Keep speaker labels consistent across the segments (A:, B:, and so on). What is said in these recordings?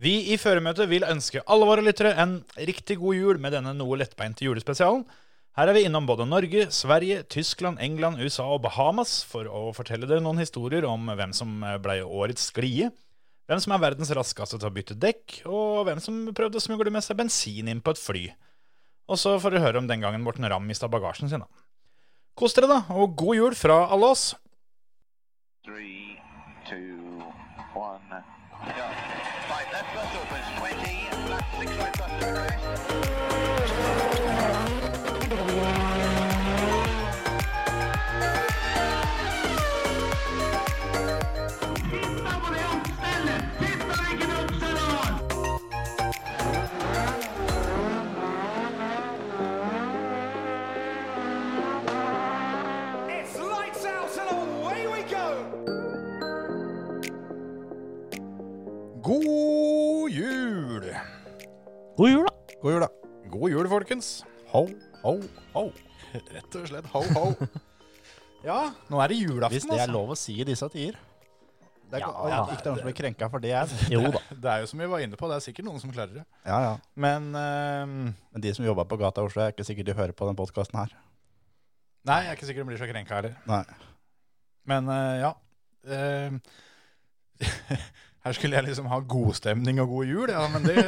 A: Vi i Føremøtet vil ønske alle våre lyttere en riktig god jul med denne noe lettbeinte julespesialen. Her er vi innom både Norge, Sverige, Tyskland, England, USA og Bahamas for å fortelle dere noen historier om hvem som ble årets sklie, hvem som er verdens raskeste til å bytte dekk, og hvem som prøvde å smugle med seg bensin inn på et fly. Og så får dere høre om den gangen Morten Ramm mista bagasjen sin, da. Kos dere, da, og god jul fra alle oss.
B: Three, two, one, go. Right, left bus opens 20, left six right bus to arrest.
C: It's lights out and away we go!
A: God jul!
D: God jul, da.
A: God jul, da. God jul, folkens. Ho, ho, ho. Rett og slett ho, ho. ja, nå er det julaften, altså.
E: Hvis det er lov å si i disse tider. Det er
D: Ja,
E: ja, ikke noen som blir krenka for det. Jeg.
D: Jo da.
A: Det er jo som vi var inne på, det er sikkert noen som klarer det.
E: Ja, ja.
A: Men ehm,
E: Men de som jobber på gata i Oslo, er ikke sikkert de hører på den podkasten her.
A: Nei, jeg er ikke sikker de blir så krenka heller.
E: Nei.
A: Men eh, ja. Ehm, her skulle jeg liksom ha godstemning og god jul, ja, men det,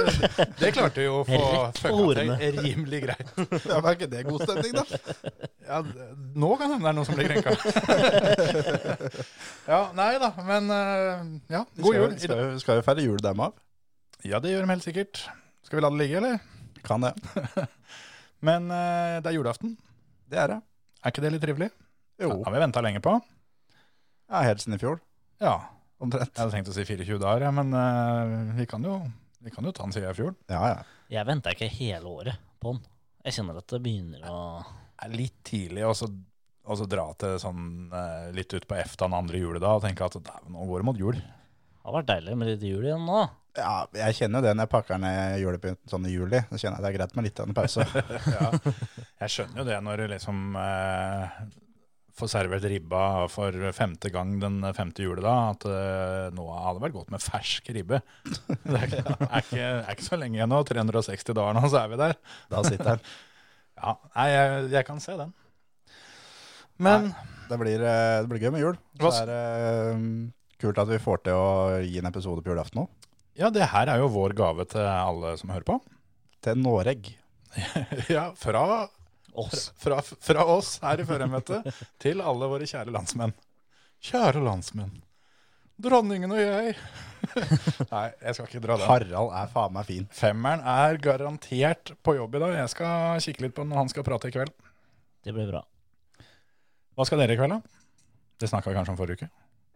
A: det klarte jo å få
D: Rett på
A: fucka til
D: horene.
A: rimelig greit.
E: Ja, men er ikke det god stemning, da?
A: Ja, d- nå kan det hende det er noen som blir krenka. ja, nei da, men eh, ja, god jul.
E: Skal, skal, skal vi feire jul, dem av?
A: Ja, det gjør de helt sikkert. Skal vi la det ligge, eller?
E: Kan det.
A: Men eh, det er julaften.
E: Det er det.
A: Er ikke det litt trivelig?
E: Jo.
A: Det har vi venta lenge på.
E: Ja, helt siden i fjor,
A: Ja, jeg
E: omtrent.
A: hadde tenkt å si 24 dager, ja, men eh, vi, kan jo, vi kan jo ta den siden i fjor.
E: Ja, ja.
D: Jeg venta ikke hele året på den. Jeg kjenner at det begynner å
A: Det er litt tidlig å så- å så dra til sånn eh, litt ut på EFTA den andre jule da og tenke at "Dæven, nå går det mot jul.
D: Det har vært deilig med litt jul igjen nå.
E: ja jeg kjenner jo det når jeg pakker ned julepynten sånn i juli. Så kjenner jeg det er greit med litt av en pause.
A: Ja. Jeg skjønner jo det når du liksom eh, får servert ribba for femte gang den femte jule da, at eh, nå hadde det vært godt med fersk ribbe. Det er ikke, er ikke, er ikke så lenge igjen nå, 360 dager nå, så er vi der.
E: Da sitter den.
A: Ja, nei, jeg, jeg kan se den. Men
E: Det blir, eh, det blir gøy med jul. Så
A: Hva-
E: er det eh, kult at vi får til å gi en episode på julaften òg.
A: ja, det her er jo vår gave til alle som hører på.
E: Til Noreg.
A: Ja, fra,
D: Oss.
A: fra, fra oss her i Føremøtet til alle våre kjære landsmenn. Kjære landsmenn. Dronningen og jeg. Nei, jeg skal ikke dra den.
E: Harald er faen meg fin.
A: Femmeren er garantert på jobb i dag. Jeg skal kikke litt på når han skal prate i kveld.
D: Det blir bra.
A: Hva skal dere i kveld, da? Det snakka vi kanskje om forrige uke?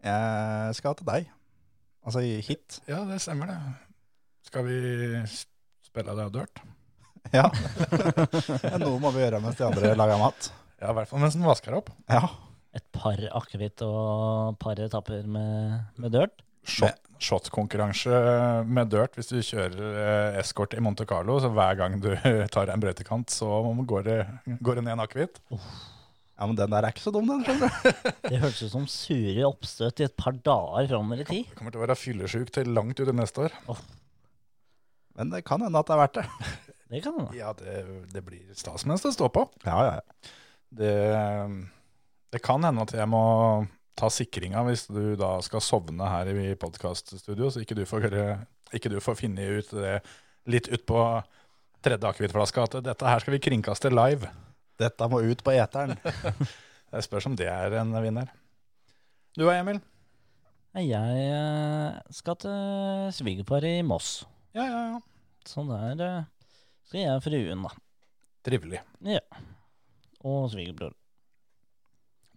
E: Jeg skal til deg. Altså i- hit.
A: Ja, det stemmer, det. Skal vi s- spille deg dørt?
E: Ja. Noe må vi gjøre mens de andre lager mat.
A: Ja, i hvert fall mens den vasker opp.
E: Ja.
D: Et par akevitt og par etapper med, med dørt.
A: Shot- Shotkonkurranse med dørt hvis du kjører eh, eskort i Monte Carlo. Så hver gang du tar en brøytekant, så går det, går det ned en akevitt.
E: ja, men den der er ikke så dum, den. skjønner du.
D: Det hørtes ut som sure oppstøt i et par dager framover i tid.
A: Du kommer til å være fyllesyk til langt ut i neste år.
E: Men det kan hende at det er verdt det.
D: Det kan hende.
A: Ja, det, det blir stas mens det står på.
E: Ja, ja, ja.
A: Det, det kan hende at jeg må ta sikringa hvis du da skal sovne her i podkaststudio, så ikke du får, høre- ikke du får finne ut det litt utpå tredje akevittflaska at dette her skal vi kringkaste live.
E: Dette må ut på eteren.
A: Det spørs om det er en vinner. Du og Emil?
D: Nei, Jeg eh, skal til svigerpar i Moss.
A: Ja, ja, ja.
D: Så der eh, skal jeg og fruen, da.
A: Trivelig.
D: Og svigerbror.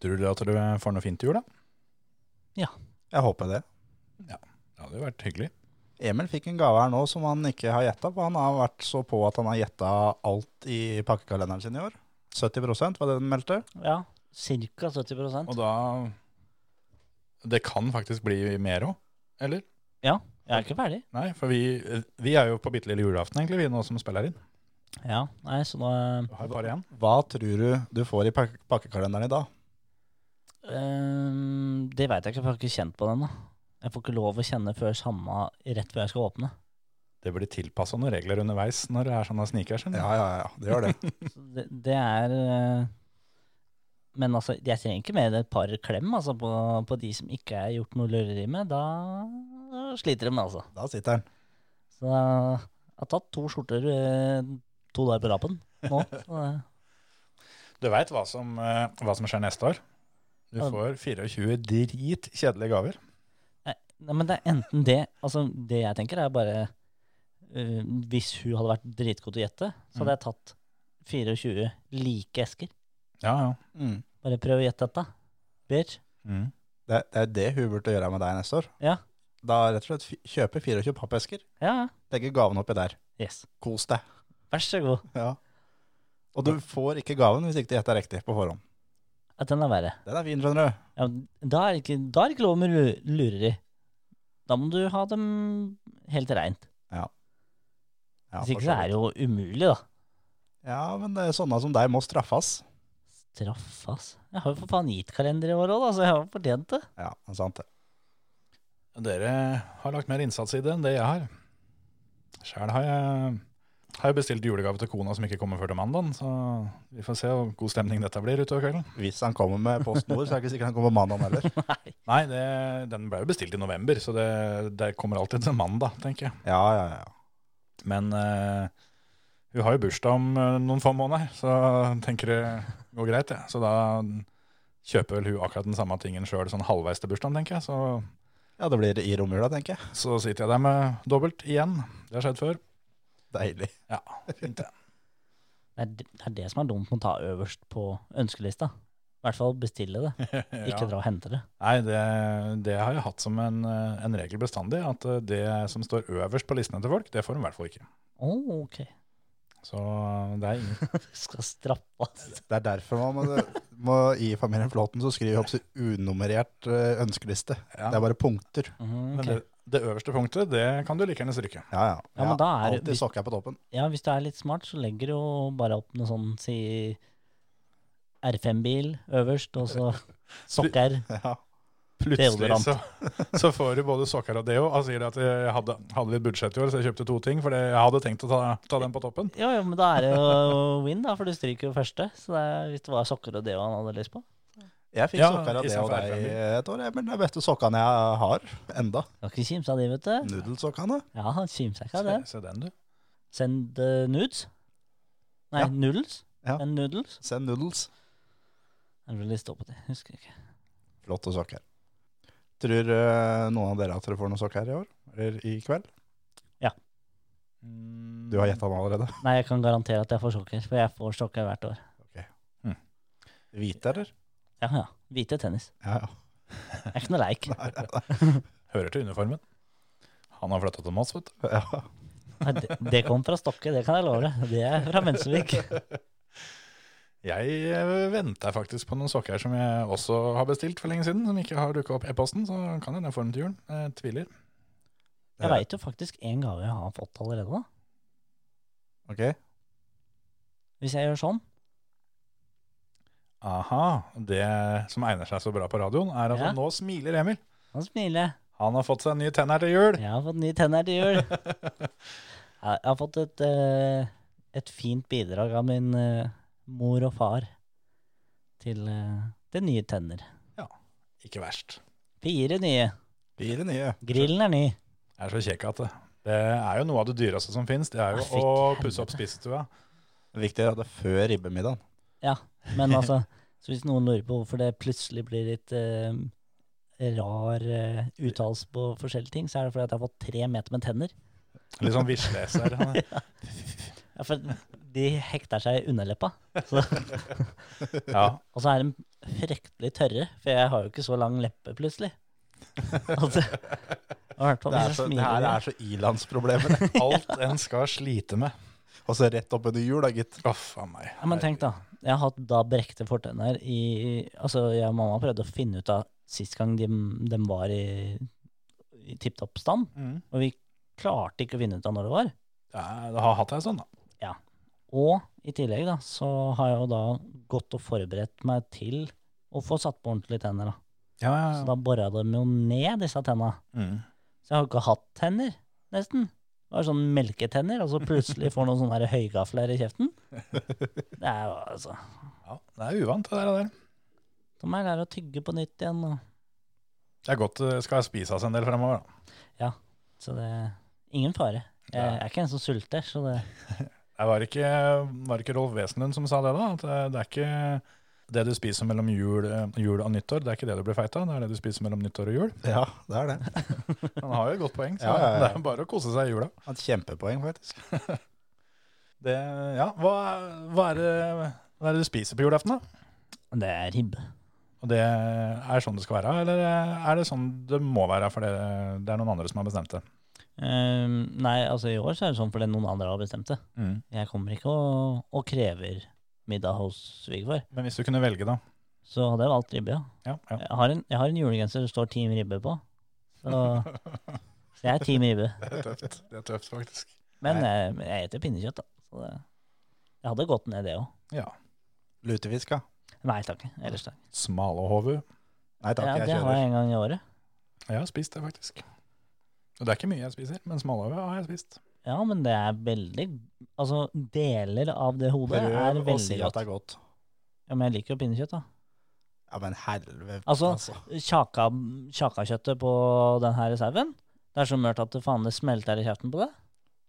A: Tror du at du får noe fint til jul, da?
E: Jeg håper det.
A: Ja, det hadde jo vært hyggelig.
E: Emil fikk en gave her nå som han ikke har gjetta på. Han har vært så på at han har gjetta alt i pakkekalenderen sin i år. 70 var det den meldte.
D: Ja, ca. 70
A: Og da Det kan faktisk bli mer òg, eller?
D: Jeg er ikke ferdig.
A: Nei, for vi, vi er jo på bitte lille julaften, egentlig, vi nå som spiller inn.
D: Ja, nei, så eh, nå
A: Du har bare igjen.
E: Hva tror du du får i pak pakkekalenderen i dag?
D: Ehm, øhm, Det veit jeg ikke, for jeg har ikke kjent på den. da Jeg får ikke lov å kjenne før samme rett før jeg skal åpne.
A: Det blir tilpassa noen regler underveis når det er sånne sniker. skjønner du.
E: Ja, ja, ja. Det gjør det.
D: Så det, det er eh, Men altså, jeg trenger ikke mer enn et par klem altså, på, på de som ikke er gjort noe lureri med. Da sliter de, altså.
E: Da sitter den.
D: Så jeg har tatt to skjorter eh, to dager på rapen nå. Så, eh,
A: Du veit hva, som, eh, hva som skjer neste år? Du
D: Ja.
A: får 24 dritkjedelige gaver.
D: Nei, men det er enten det Altså, det jeg tenker, er bare eh, Hvis hun hadde vært dritgod til å gjette, så hadde jeg tatt 24 like esker.
A: Ja, ja.
E: Mm.
D: Bare prøv å gjette dette, bitch.
A: Mm.
E: Det, det er jo det hun burde gjøre med deg neste år.
D: Ja.
E: Da rett og slett fi- kjøpe 24 pappesker,
D: Ja, ja.
E: legge gaven oppi der.
D: Yes.
E: Kos deg.
D: Vær så god.
E: Ja. Og du får ikke gaven hvis ikke du gjetter riktig på forhånd.
D: At den er verre.
E: Den er fin, skjønner du.
D: Ja, men da, er det ikke, da er det ikke lov med lu- lureri. Da må du ha dem helt reint.
E: Ja,
D: Hvis
E: for
D: ikke
E: så
D: så er
E: vidt.
D: det jo umulig, da.
E: Ja, men det er sånne som deg må straffes.
D: Straff, ass. Jeg har jo for faen gitt kalender i år òg, da, så jeg har jo fortjent det.
E: Ja, det er sant det.
A: Dere har lagt mer innsats i det enn det jeg har. Sjæl har jeg har jeg bestilt julegave til kona som ikke kommer før til mandagen, så vi får se hvor god stemning dette blir utover kvelden.
E: Hvis han kommer med Post Nord, så er det ikke sikkert han kommer mandag heller.
A: Nei, det, den ble jo bestilt i november, så det, det kommer alltid til mandag, tenker jeg.
E: Ja, ja, ja.
A: Men eh, hun har jo bursdag om eh, noen få måneder, så tenker det går greit, jeg. Så da kjøper vel hun akkurat den samme tingen sjøl sånn halvveis til bursdagen, tenker jeg. Så,
E: Ja, det blir i romjula, tenker jeg.
A: så sitter jeg der med dobbelt igjen. Det har skjedd før.
E: Deilig.
A: Ja, fint det.
D: Det er, det er det som er dumt med å ta øverst på ønskelista. I hvert fall bestille det, ikke
A: Ja.
D: dra og hente det.
A: Nei, det, det har jeg hatt som en, eh, en regel bestandig, at eh, det som står øverst på listene til folk, det får de i hvert fall ikke.
D: Å, ok.
A: Så det er ingen.
D: Skal straffes.
E: Det er derfor man må, må i familien Flåten så skriver vi opp sin unummerert eh, ønskeliste.
A: Ja.
E: Det er bare punkter.
D: Mm,
A: Men
D: ok.
A: det, det øverste punktet, det kan du like gjerne stryke.
E: Ja, ja.
D: Ja, men da er det-
E: Alltid sokker på toppen.
D: Ja, hvis du er litt smart, så legger du jo bare opp noe sånn, si R5-bil øverst, og så sokker.
E: Ja.
A: Plutselig
D: Deodorant.
A: så, så får du både sokker og deo. Han sier at eh, jeg hadde, hadde litt budsjett i år, så jeg kjøpte to ting, for jeg hadde tenkt å ta, ta den på toppen.
D: Jo, jo, men da er det jo win, da, for du stryker jo første. Så det er, hvis det var sokker og deo han hadde lyst på.
E: Jeg fikk
A: Ja,
E: sokker av det og
A: istedenfor
E: deg
A: erfaringer.
E: et år. jeg, Men det er beste sokkene jeg har enda.
D: Skal ikke kimse av de, vet du.
E: Nudelsokkene.
D: Ja, han kimser ikke
A: Se,
D: av det.
A: se den, du.
D: Send eh, nudes. Nei,
E: Ja.
D: noodles.
E: Ja.
D: Send noodles.
E: Send noodles.
D: Jeg vil liste opp på det, husker ikke.
E: Flotte sokker. Tror eh, noen av dere at dere får noen sokker i år? Eller i kveld? Du har gjetta meg allerede.
D: Nei, jeg kan garantere at jeg får sokker, for jeg får sokker hvert år.
E: Hvite, eller?
D: Ja, ja. Hvite tennis.
E: Ja, ja.
D: Jeg er ikke noe leik.
A: Mm, Hører til uniformen. Han har flytta til Moss, vet du.
E: ja.
D: Nei, det, det kom fra Stokke, det kan jeg love deg. Det er fra Mensvik.
A: Jeg eh, venter faktisk på noen sokker som jeg også har bestilt for lenge siden, som ikke har dukka opp i e-posten, så kan hende jeg får dem til jul. Jeg tviler.
D: Jeg veit jo faktisk en gave jeg har fått allerede, da.
E: Ok.
D: Hvis jeg gjør sånn.
A: Aha. Det som egner seg så bra på radioen, er at
D: Ja.
A: nå smiler Emil.
D: Nå smiler jeg.
A: Han har fått seg en ny tenner til jul.
D: Jeg har fått nye tenner til jul. Jeg jeg har fått et, eh, et fint bidrag av min eh, mor og far til, eh, til nye tenner.
A: Ikke verst.
D: Fire nye.
E: Fire nye.
D: Grillen er ny.
A: Jeg er så kjekk at det. Det er jo noe av det dyreste som fins. Det er jo
D: Å, fy
A: å
D: helvete.
A: pusse opp spisestua.
E: Viktigere at det er før ribbemiddagen.
D: Men altså, så hvis noen lurer på hvorfor det plutselig blir litt eh, rar uh, uttalelse på forskjellige ting, så er det fordi at jeg har fått tre meter med tenner.
A: Litt sånn visleser.
D: Ja, for de hekter seg i underleppa. Så,
A: Ja.
D: og så er de fryktelig tørre, for jeg har jo ikke så lang leppe plutselig. Altså, og i hvert fall
E: Det, er
D: hvis
E: så,
D: jeg
E: det her
D: smiler.
E: er så ilandsproblemer. det.
A: Alt en skal slite med.
E: Og så rett opp under jul, da, gitt.
A: Å, faen meg.
D: Ja, men tenk da, jeg har hatt da brekte fortenner i Altså, jeg og mamma prøvde å finne ut av sist gang de, de var i, i tipp topp stand,
A: Mm.
D: og vi klarte ikke å finne ut av når det var.
A: Ja, det har hatt ei sånn, da.
D: Og i tillegg da, så har jeg jo da gått og forberedt meg til å få satt på ordentlige tenner. da.
A: Ja,
D: Så da bora de jo ned disse tenna.
A: Mm.
D: Så jeg har jo ikke hatt tenner, nesten. Har sånn melketenner, og så plutselig får noen sånne her høygafler i kjeften. Det er jo altså
A: Ja, det er uvant, det der. og der.
D: De må lære å tygge på nytt igjen. Og,
A: Det er godt det skal spises en del fremover. Da.
D: så det Ingen fare. Jeg
A: Ja.
D: er ikke en som sulter, så det
A: Det var ikke, var ikke Rolf Wesenlund som sa det, da? At eh, det er ikke det du spiser mellom jul, eh, jul og nyttår, det er ikke det du blir feit av, det er det du spiser mellom nyttår og jul.
E: Ja, det er det.
A: Han har jo et godt poeng, så
E: Ja, ja, ja.
A: det er bare å kose seg i jula.
E: Et kjempepoeng, faktisk.
A: Det, ja, hva, hva, er det, hva er det du spiser på julaften, da?
D: Det er ribbe.
A: Og det er sånn det skal være, eller er det sånn det må være, for det, det er noen andre som har bestemt det?
D: Ehm, nei, altså i år så er det sånn fordi noen andre har bestemt det.
A: Mm.
D: Jeg kommer ikke og, og krever middag hos svigerfar.
A: Men hvis du kunne velge, da?
D: Så hadde jeg valgt ribbe, ja.
A: Ja, ja.
D: Jeg har en, jeg har en julegenser det står Team Ribbe på. Så, så jeg er Team Ribbe.
A: Det er tøft, det er tøft faktisk.
D: Men jeg, jeg eter pinnekjøtt, da. Så det, jeg hadde gått ned det òg.
A: Ja.
E: Lutefisk, ja.
D: Nei takk. Ellers takk.
A: Smalahove.
E: Nei takk,
D: Ja,
E: jeg
D: det har
E: kjører.
D: jeg en gang i året.
A: Jeg har spist det, faktisk. Og det er ikke mye jeg spiser, men smalahove har jeg spist.
D: Ja, men det er veldig Altså, deler av det hodet er
E: Prøv å
D: veldig
E: si at
D: godt.
E: det er godt.
D: Ja, men jeg liker jo pinnekjøtt, da.
E: Ja, men helvete,
D: Altså,
E: altså.
D: Kjaka, kjakakjøttet på den her sauen. Det er så mørt at det faen det smelter i kjeften på det.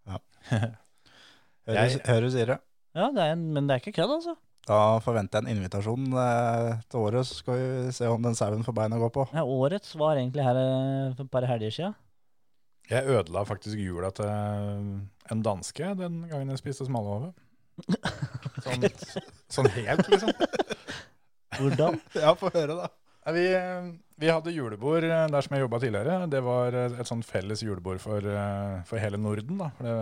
E: Hører,
A: jeg-
E: hører du sier det.
D: Ja, det er en, men det er ikke kødd, altså.
E: Da forventer jeg en invitasjon eh, til året, så skal vi se om den sauen får bein å gå på.
D: Ja, årets var egentlig her eh, for et par helger sia.
A: Jeg ødela faktisk jula til en danske den gangen jeg spiste smalahove. Sånn, sånn helt, liksom.
D: Hvordan?
E: Ja, få høre, da.
A: Nei, Vi, vi hadde julebord eh, der som jeg jobba tidligere. Det var eh, et sånn felles julebord for, eh, for hele Norden. Da. For det,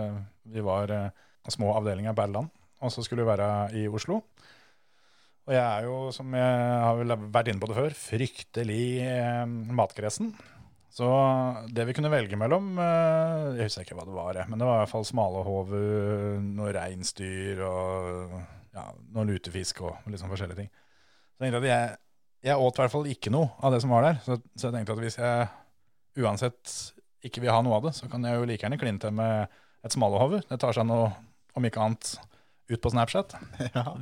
A: vi var eh, små avdelinger per land, og så skulle vi være i Oslo. Og jeg er jo, som jeg har vel vært inne på det før, fryktelig eh, matgresen. Så det vi kunne velge mellom eh, Jeg husker ikke hva det var, jeg, men det var i hvert fall smalahove, noe reinsdyr og ja, noe lutefisk og litt sånn forskjellige ting. Så tenkte jeg at jeg jeg åt i hvert fall ikke noe av det som var der. Så, så jeg tenkte at hvis jeg uansett ikke vil ha noe av det, så kan jeg jo like gjerne kline til med et smalahove. Det tar seg noe, om ikke annet, ut på Snapchat.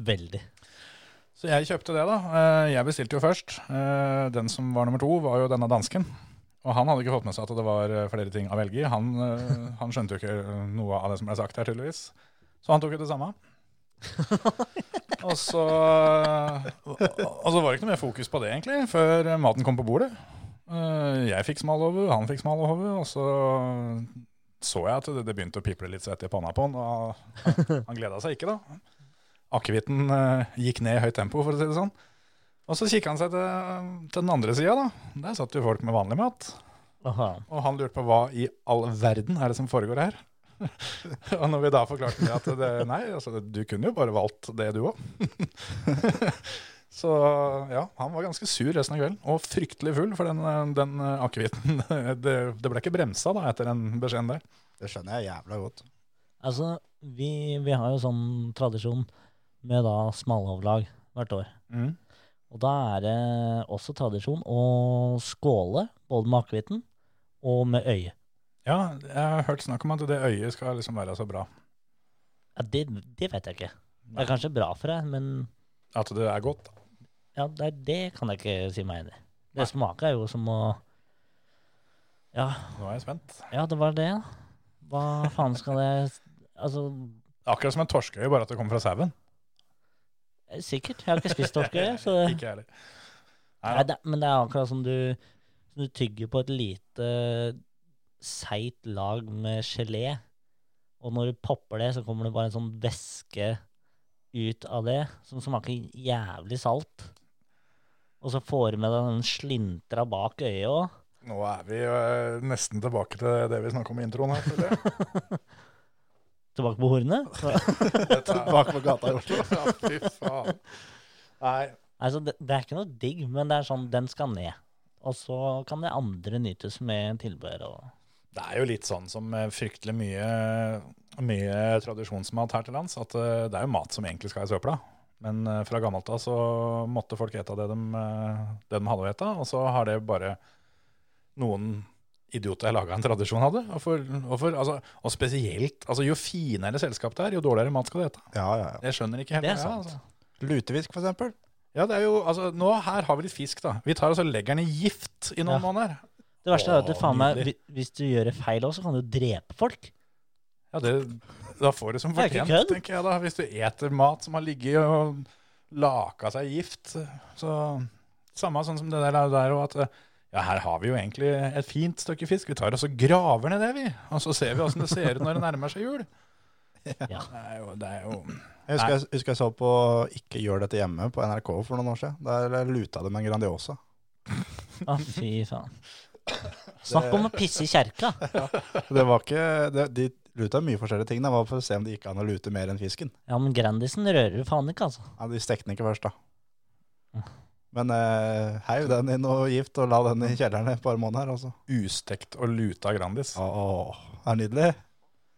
D: Veldig.
A: Så jeg kjøpte det, da. Eh, Jeg bestilte jo først. Eh, Den som var nummer to, var jo denne dansken. Og han hadde ikke fått med seg at det var eh, flere ting å velge i. Han, eh, han skjønte jo ikke eh, noe av det som ble sagt her, tydeligvis. Så han tok jo det samme. og, så, og og så var det ikke noe mer fokus på det, egentlig, før eh, maten kom på bordet. Eh, Jeg fikk smalahove, han fikk smalahove, og så så jeg at det, det begynte å piple litt svett i panna på han, og han, han gleda seg ikke, da akevitten eh, gikk ned i høyt tempo, for å si det sånn. Og så kikka han seg til, til den andre sida, da. Der satt jo folk med vanlig mat.
D: Aha.
A: Og han lurte på hva i all verden er det som foregår her. og når vi da forklarte det at det, nei, altså, du kunne jo bare valgt det du òg. Så ja, han var ganske sur resten av kvelden, og fryktelig full for den, eh, den eh, akevitten. det, det ble ikke bremsa da etter den beskjeden der.
E: Det skjønner jeg jævla godt.
D: Altså, vi, vi har jo sånn tradisjon med da smalhovlag hvert år. Og da er det også tradisjon å skåle både med akevitten og med øyet.
A: Ja, jeg har hørt snakk om at det øyet skal liksom være så bra.
D: Ja, det, det vet jeg ikke. Det
A: Nei.
D: er kanskje bra for deg, men
A: At det er godt.
D: ja, det, er- det kan jeg ikke si meg enig i. Det smaker jo som å ja,
A: Nå er jeg spent.
D: ja, det var det. da. Hva faen skal jeg Altså,
A: Akkurat som en torskeøye, bare at det kommer fra sauen.
D: sikkert. Jeg har ikke spist torskøye, så
A: Ikke jeg heller.
D: Nei, det, men det er akkurat som du, som du tygger på et lite seigt lag med gelé. Og når du popper det, så kommer det bare en sånn væske ut av det som smaker jævlig salt. Og så får du med deg den slintra bak øyet òg.
A: Nå er vi eh, nesten tilbake til det vi snakka om i introen her. føler jeg.
D: Tilbake på hornet. Så-
E: Bak på gata i Oslo.
A: Ja, fy faen. Nei,
D: Altså, det, det er ikke noe digg, men det er sånn, den skal ned. Og så kan det andre nytes med tilbehør. Og...
A: det er jo litt sånn som eh, fryktelig mye, mye tradisjonsmat her til lands, at eh, det er jo mat som egentlig skal i søpla. Men eh, fra gammelt av så måtte folk ete det de, eh, det de hadde å ete, og så har det bare noen idioter jeg laga en tradisjon hadde. Og, for, og, for, altså, og spesielt altså, Jo finere selskap det er, jo dårligere mat skal du ete.
E: Ja, ja, ja.
A: Jeg skjønner ikke helt
D: Det er
A: greia,
D: sant.
A: altså.
E: Lutefisk, for eksempel.
A: Ja, det er jo, altså, nå Her har vi litt fisk, da. Vi tar og så legger den i gift i noen
D: Ja.
A: måneder.
D: Det verste er jo at det,
A: Å,
D: faen meg,
A: nydelig.
D: hvi- hvis du gjør det feil også, så kan du drepe folk.
A: Ja, det, Da får du som
D: Det er ikke
A: fortjent,
D: kødd.
A: tenker jeg da. Hvis du eter mat som har ligget og laka seg i gift. Så Samme sånn som det der, der og at eh, ja, her har vi jo egentlig et fint stykke fisk. Vi tar og så graver ned det, vi. Og så ser vi åssen det ser ut når det nærmer seg jul.
D: Ja.
A: Det er jo, det er jo
E: Jeg husker, jeg husker jeg så på Ikke gjør dette hjemme på NRK for noen år siden. Der luta det med en Grandiosa.
D: Å, fy faen. Snakk om å pisse i kjerka.
E: Det var ikke, det, de luta mye forskjellige ting. Det var for å se om det gikk an å lute mer enn fisken.
D: Ja, men Grandisen rører du faen ikke, altså.
E: Ja, de stekte den ikke først, da. Men eh, heiv den i noe gift og la den i kjelleren et par måneder. Altså.
A: ustekt og luta Grandis. Ja,
E: Åh, det er nydelig.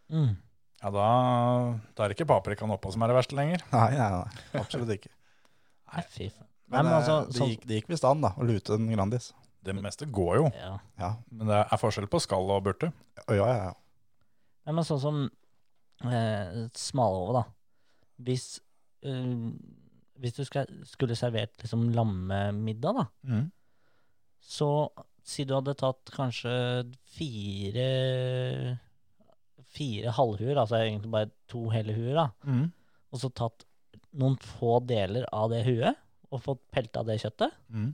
A: da,
D: Mm.
A: da er det ikke paprikaen oppå som er det verste lenger.
E: Nei, nei, nei. Absolutt ikke.
D: Nei, fy faen. Nei,
E: Men,
D: men altså,
E: eh, det
D: sånn,
E: gikk, det gikk visst an, da, å lute en Grandis.
A: Det meste går jo,
D: ja.
E: Ja,
A: men det er forskjell på skall og burte.
E: Å, ja, ja. ja.
D: Nei, men sånn som eh, smalahove, da. Hvis, eh, hvis du skal, skulle servert liksom lammemiddag, da, så si du hadde tatt kanskje fire Fire halvhuer, altså egentlig bare to hele huer, da.
A: Mm.
D: Og så tatt noen få deler av det huet, og fått pelta det kjøttet.
A: Mm.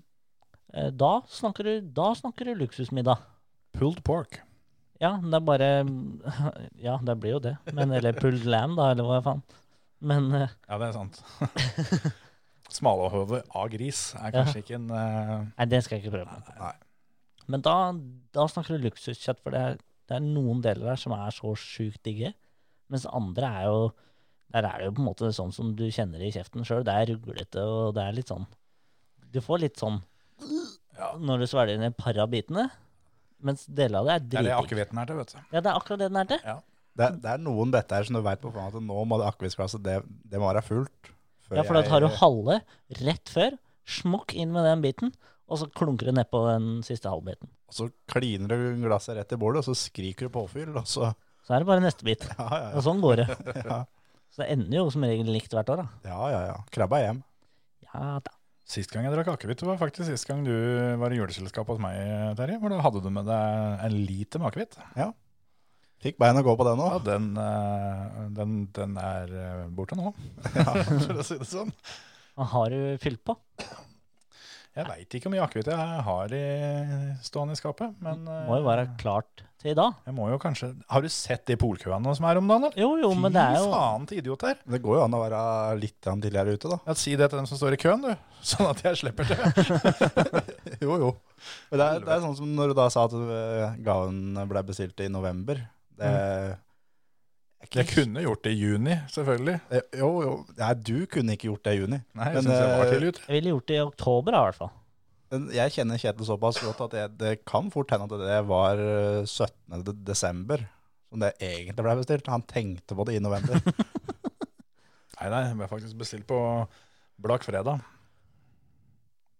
D: Eh, da, snakker du, da snakker du luksusmiddag.
A: Pulled pork.
D: Ja, det er bare Ja, det blir jo det. Men, eller pulled lamb, da, eller hva faen. Men eh,
A: Ja, det er sant. Smalahove av gris er kanskje ikke en eh,
D: Nei, det skal jeg ikke prøve.
A: Nei.
D: Men da, da snakker du luksuskjøtt, for det er, det er noen deler der som er så sjukt digge. Mens andre er jo Der er det jo på en måte sånn som du kjenner det i kjeften sjøl. Det er ruglete, og det er litt sånn Du får litt sånn når du svelger ned et par av bitene. Mens deler av det
A: Det
D: er
A: er det
D: dritdigg.
A: akevitten er til, vet du.
D: Ja, det er akkurat det den er til.
E: Det, er- det er noen better som du veit på forhånd at nå må det akvisklasse, det, det må være fullt. før
D: Ja, for da
E: jeg-
D: tar du halve rett før, smokk inn med den biten, og så klunker du nedpå den siste halvbiten.
E: Og så kliner du glasset rett i bordet, og så skriker du påfyll, og så
D: Så er det bare neste bit.
E: Ja, ja,
D: Og sånn går det.
E: ja.
D: Så det ender jo som regel likt hvert år, da.
E: ja, ja, ja. Krabba hjem.
D: Ja da.
A: Sist gang jeg drakk akevitt, var faktisk sist gang du var i juleselskap hos meg, Terje. Hvor da hadde du med deg en liter med akevitt.
E: Fikk bein å gå på det nå.
A: Ja, den, eh, den, den er eh, borte nå, for å si det sånn.
D: Og har du fylt på?
A: Jeg veit ikke hvor mye akevitt jeg har i stående i skapet, men eh,
D: Må jo være klart til i dag.
A: jeg må jo kanskje Har du sett de polkøene som er om dagen? eller?
D: Jo, jo, men det er jo
A: Fy faen til idioter!
E: Men Det går jo an å være litt grann tidligere ute, da.
A: Ja, Si det til dem som står i køen, du, sånn at jeg slipper det.
E: Jo, jo. Men det er, det er sånn som når du da sa at øh, gaven ble bestilt i november. Det,
D: Mm.
A: Jeg kunne gjort det i juni, selvfølgelig.
E: Eh, Jo, jo. Nei, du kunne ikke gjort det i juni.
A: Nei, jeg
E: Men,
A: synes jeg var
E: eh,
A: tidlig ute.
D: Jeg ville gjort det i oktober, da, i hvert fall.
E: Men jeg kjenner Kjetil såpass godt at jeg, det kan fort hende at det var øh, 17. de- desember som det egentlig ble bestilt. Han tenkte på det i november.
A: Nei, nei, jeg ble faktisk bestilt på Blak fredag.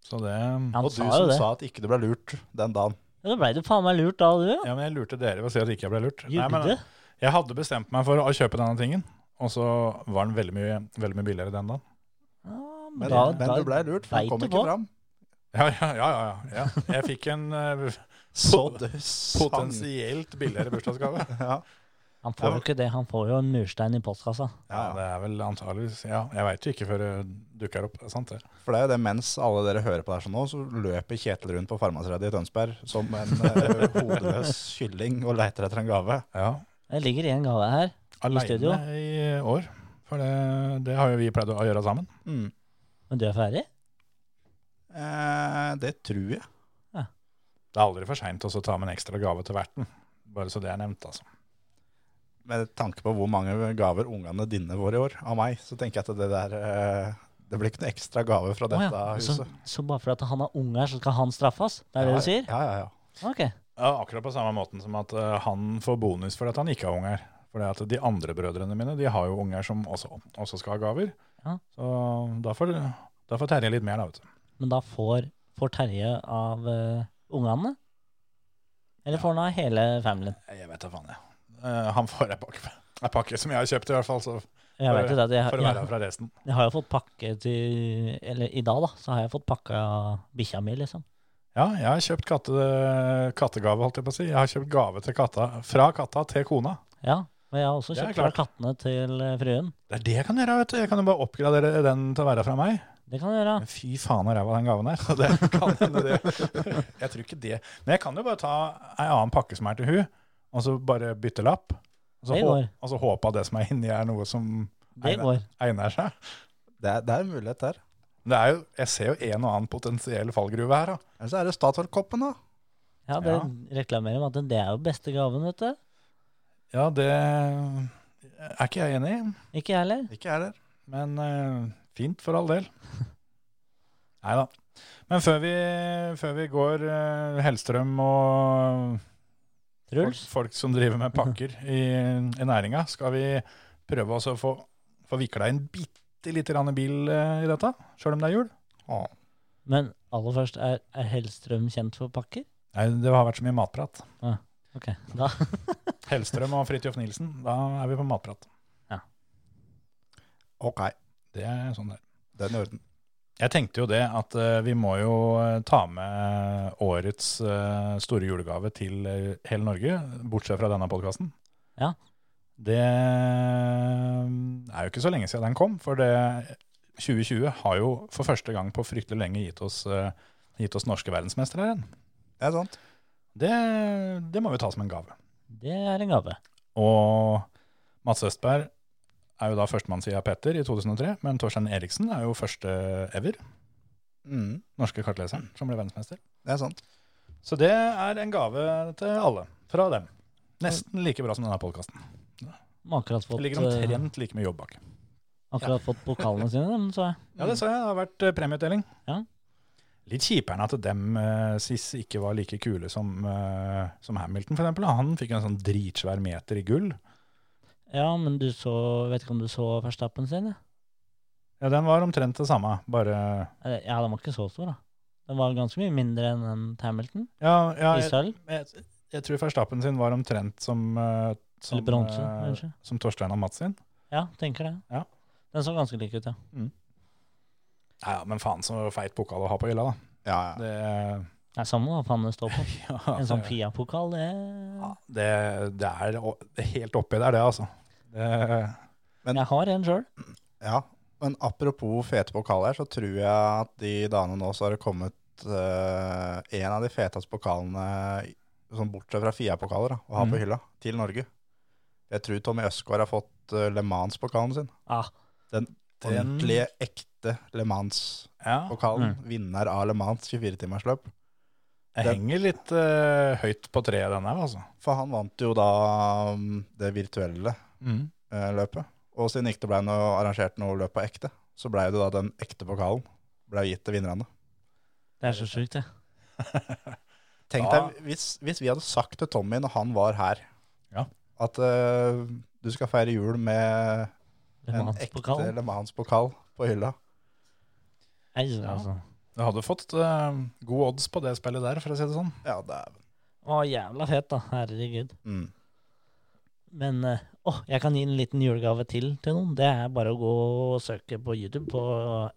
A: Så det ja.
D: Han
E: og du
D: sa
E: som
D: jo det.
E: sa at ikke du ble lurt den dagen.
D: Ja, Da blei du faen meg lurt da, du. ja.
A: men jeg lurte dere ved å si at ikke jeg ble lurt. Nei, men
D: Gjorde?
A: jeg hadde bestemt meg for å kjøpe denne tingen, og så var den veldig mye, veldig mye billigere den dagen.
D: Ja,
E: Men,
D: da-
E: men
D: da
E: du ble lurt, for
D: vet
E: han kom
D: du
E: ikke
D: hva.
E: fram.
A: Ja, ja, ja. ja, ja. Jeg fikk en eh,
E: Så det sang.
A: potensielt billigere bursdagsgave.
E: Ja.
D: Han får jo ikke det. Han får jo en murstein i postkassa.
A: Ja, det er vel antageligvis Ja, jeg veit jo ikke før det dukker opp. Det er sant, det.
E: For det er jo det, mens alle dere hører på det her sånn nå, så løper Kjetil rundt på Farmasredet i Tønsberg som en eh, hodeløs kylling og leter etter en gave.
A: Ja.
D: Det ligger en gave her. studio?
A: Aleine i år. For det, det har jo vi pleid å gjøre sammen.
E: Mm.
D: Men du er ferdig?
E: Eh, det tror jeg.
A: Det er aldri for seint å så ta med en ekstra gave til verten. Bare så det er nevnt, altså.
E: Med tanke på hvor mange gaver ungene dine våre i år av meg, så tenker jeg at det der eh, Det blir ikke noe ekstra gave fra
D: Å
E: dette
D: ja. så,
E: huset.
D: så bare fordi han har unger, så skal han straffes? Det er det du sier?
E: Ja, ja, ja.
D: Ok.
A: Ja, akkurat på samme måten som at eh, han får bonus fordi at han ikke har unger. Fordi at de andre brødrene mine de har jo unger som også, også skal ha gaver.
D: Ja.
A: Så da får, da får Terje litt mer, da, vet du.
D: Men da får, får Terje av eh, ungene? Eller får han ha hele familien?
A: Jeg vet da faen, jeg. Eh, han får ei pakke, en pakke som jeg har kjøpt, i hvert fall. Så
D: Jeg vet jo det at jeg,
A: for å være
D: jeg,
A: fra resten.
D: jeg har jo fått pakke til Eller i dag, da, så har jeg fått pakka bikkja mi, liksom.
A: Ja, jeg har kjøpt katte, kattegave, holdt jeg på å si. Jeg har kjøpt gave til katta, fra katta til kona.
D: Ja. Men jeg har også
A: Det er
D: kjøpt fra
A: klart.
D: kattene til eh, fruen.
A: Det er det jeg kan gjøre, vet du. Jeg kan jo bare oppgradere den til å være fra meg.
D: Det kan du gjøre.
A: Men fy faen og ræva den gaven her. Så det kan hende det. Jeg tror ikke det. Men jeg kan jo bare ta ei annen pakke som er til hun, og så bare bytte lapp. Og så,
D: Det
A: hå
D: går.
A: og så håpe at det som er inni, er noe som
D: Det
A: Nei, nei.
D: går.
A: egner seg.
E: Det er, det er en mulighet der.
A: Det er jo, jeg ser jo en og annen potensiell fallgruve her. Da.
E: Eller så er det Statoil-koppen, da.
D: Ja, det reklamerer om at det er jo beste gaven, vet du.
A: Ja, det er ikke jeg enig i,
D: Ikke jeg heller.
E: Ikke jeg heller.
A: men eh, fint for all del. Nei da. Men før vi, før vi går eh, Hellstrøm og folk,
D: Truls.
A: folk som driver med pakker i, i næringa. Skal vi prøve oss å få, få vikla inn bitte lite grann bil eh, i dette, sjøl om det er jul? Åh.
D: Men aller først, er, er Hellstrøm kjent for pakker?
A: Nei, det har vært så mye matprat.
D: Ok, da
A: Hellstrøm og Fridtjof Nilsen, da er vi på matprat.
E: Ok,
A: Det er sånn det er.
E: den i orden.
A: Jeg tenkte jo det at eh, vi må jo eh, ta med årets eh, store julegave til eh, hele Norge, bortsett fra denne podkasten.
D: Ja.
A: Det eh, er jo ikke så lenge siden den kom, for det 2020 har jo for første gang på fryktelig lenge gitt oss, eh, gitt oss norske verdensmestere her igjen.
E: Det er sant.
A: Det, det må vi ta som en gave.
D: Det er en gave.
A: Og Mats Østberg er jo da førstemann siden Petter i 2003, men Torstein Eriksen er jo første ever,
E: Mm,
A: norske kartleseren, som ble verdensmester.
E: det er sant.
A: Så det er en gave til alle, fra dem. Nesten like bra som denne podkasten.
D: De har akkurat fått,
A: Ligger
D: eh,
A: omtrent like mye jobb bak.
D: akkurat fått pokalene sine, dem, så jeg.
A: Ja, det sa jeg. Det har vært eh, premieutdeling.
D: mm. Ja.
A: Litt kjipere enn at dem eh, sist ikke var like kule som, eh, som Hamilton, for eksempel. Han fikk en sånn dritsvær meter i gull.
D: Ja, men du så Vet ikke om du så Verstappen sin? Ja,
A: Ja, den var omtrent det samme, bare
D: Eller, ja den var ikke så stor, da. Den var ganske mye mindre enn en Hamilton.
A: Ja, ja
D: I
A: jeg,
D: sølv.
A: jeg, jeg tror Verstappen sin var omtrent som, eh, som
D: Eller bronse,
A: eh,
D: kanskje.
A: Som Torstein og Mats sin.
D: Ja, tenker det.
A: Ja.
D: Den så ganske lik ut, ja.
A: Ja, ja, men faen så feit pokal å ha på hylla, da.
E: Ja, ja.
A: Det,
D: Det er samme hva faen det står på.
A: ja,
D: En sånn
A: det-
D: Fia-pokal, det
A: Ja, det, det er å- det er helt oppi der, det, altså. Det,
D: Jeg har en sjøl.
E: ja. Men apropos fete pokaler, så tror jeg at de dagene nå så har det kommet eh, en av de feteste pokalene, sånn bortsett fra Fia-pokaler, da, å ha
A: Mm.
E: på hylla, til Norge. Jeg tror Tommy Østgaard har fått eh, Le Mans-pokalen sin.
D: Ah,
A: Den- Mm.
E: Ordentlige, ekte Le Mans-pokalen.
A: ja,
E: Vinner av Le Mans 24-timersløp.
A: jeg
E: Den-
A: henger litt eh, høyt på treet, den her, altså.
E: For han vant jo da mm, det virtuelle eh, løpet. Og siden ikke det ble noe, arrangert noe løp på ekte, så ble det da den ekte pokalen ble gitt til vinnerne.
D: det er så sjukt, det.
A: Ja.
E: Tenk deg hvis, hvis vi hadde sagt til Tommy når han var her,
A: Ja.
E: at eh, du skal feire jul med
D: Le
E: en ekte
D: Mans-pokalen.
E: Le Mans-pokal på hylla.
D: Nei, altså.
A: Du hadde fått eh, gode odds på det spillet der, for å si det sånn.
E: Ja, dæven.
D: Å, jævla fett, da. Herregud.
E: Mm.
D: Men eh, åh, jeg kan gi en liten julegave til til noen. Det er bare å gå og søke på YouTube på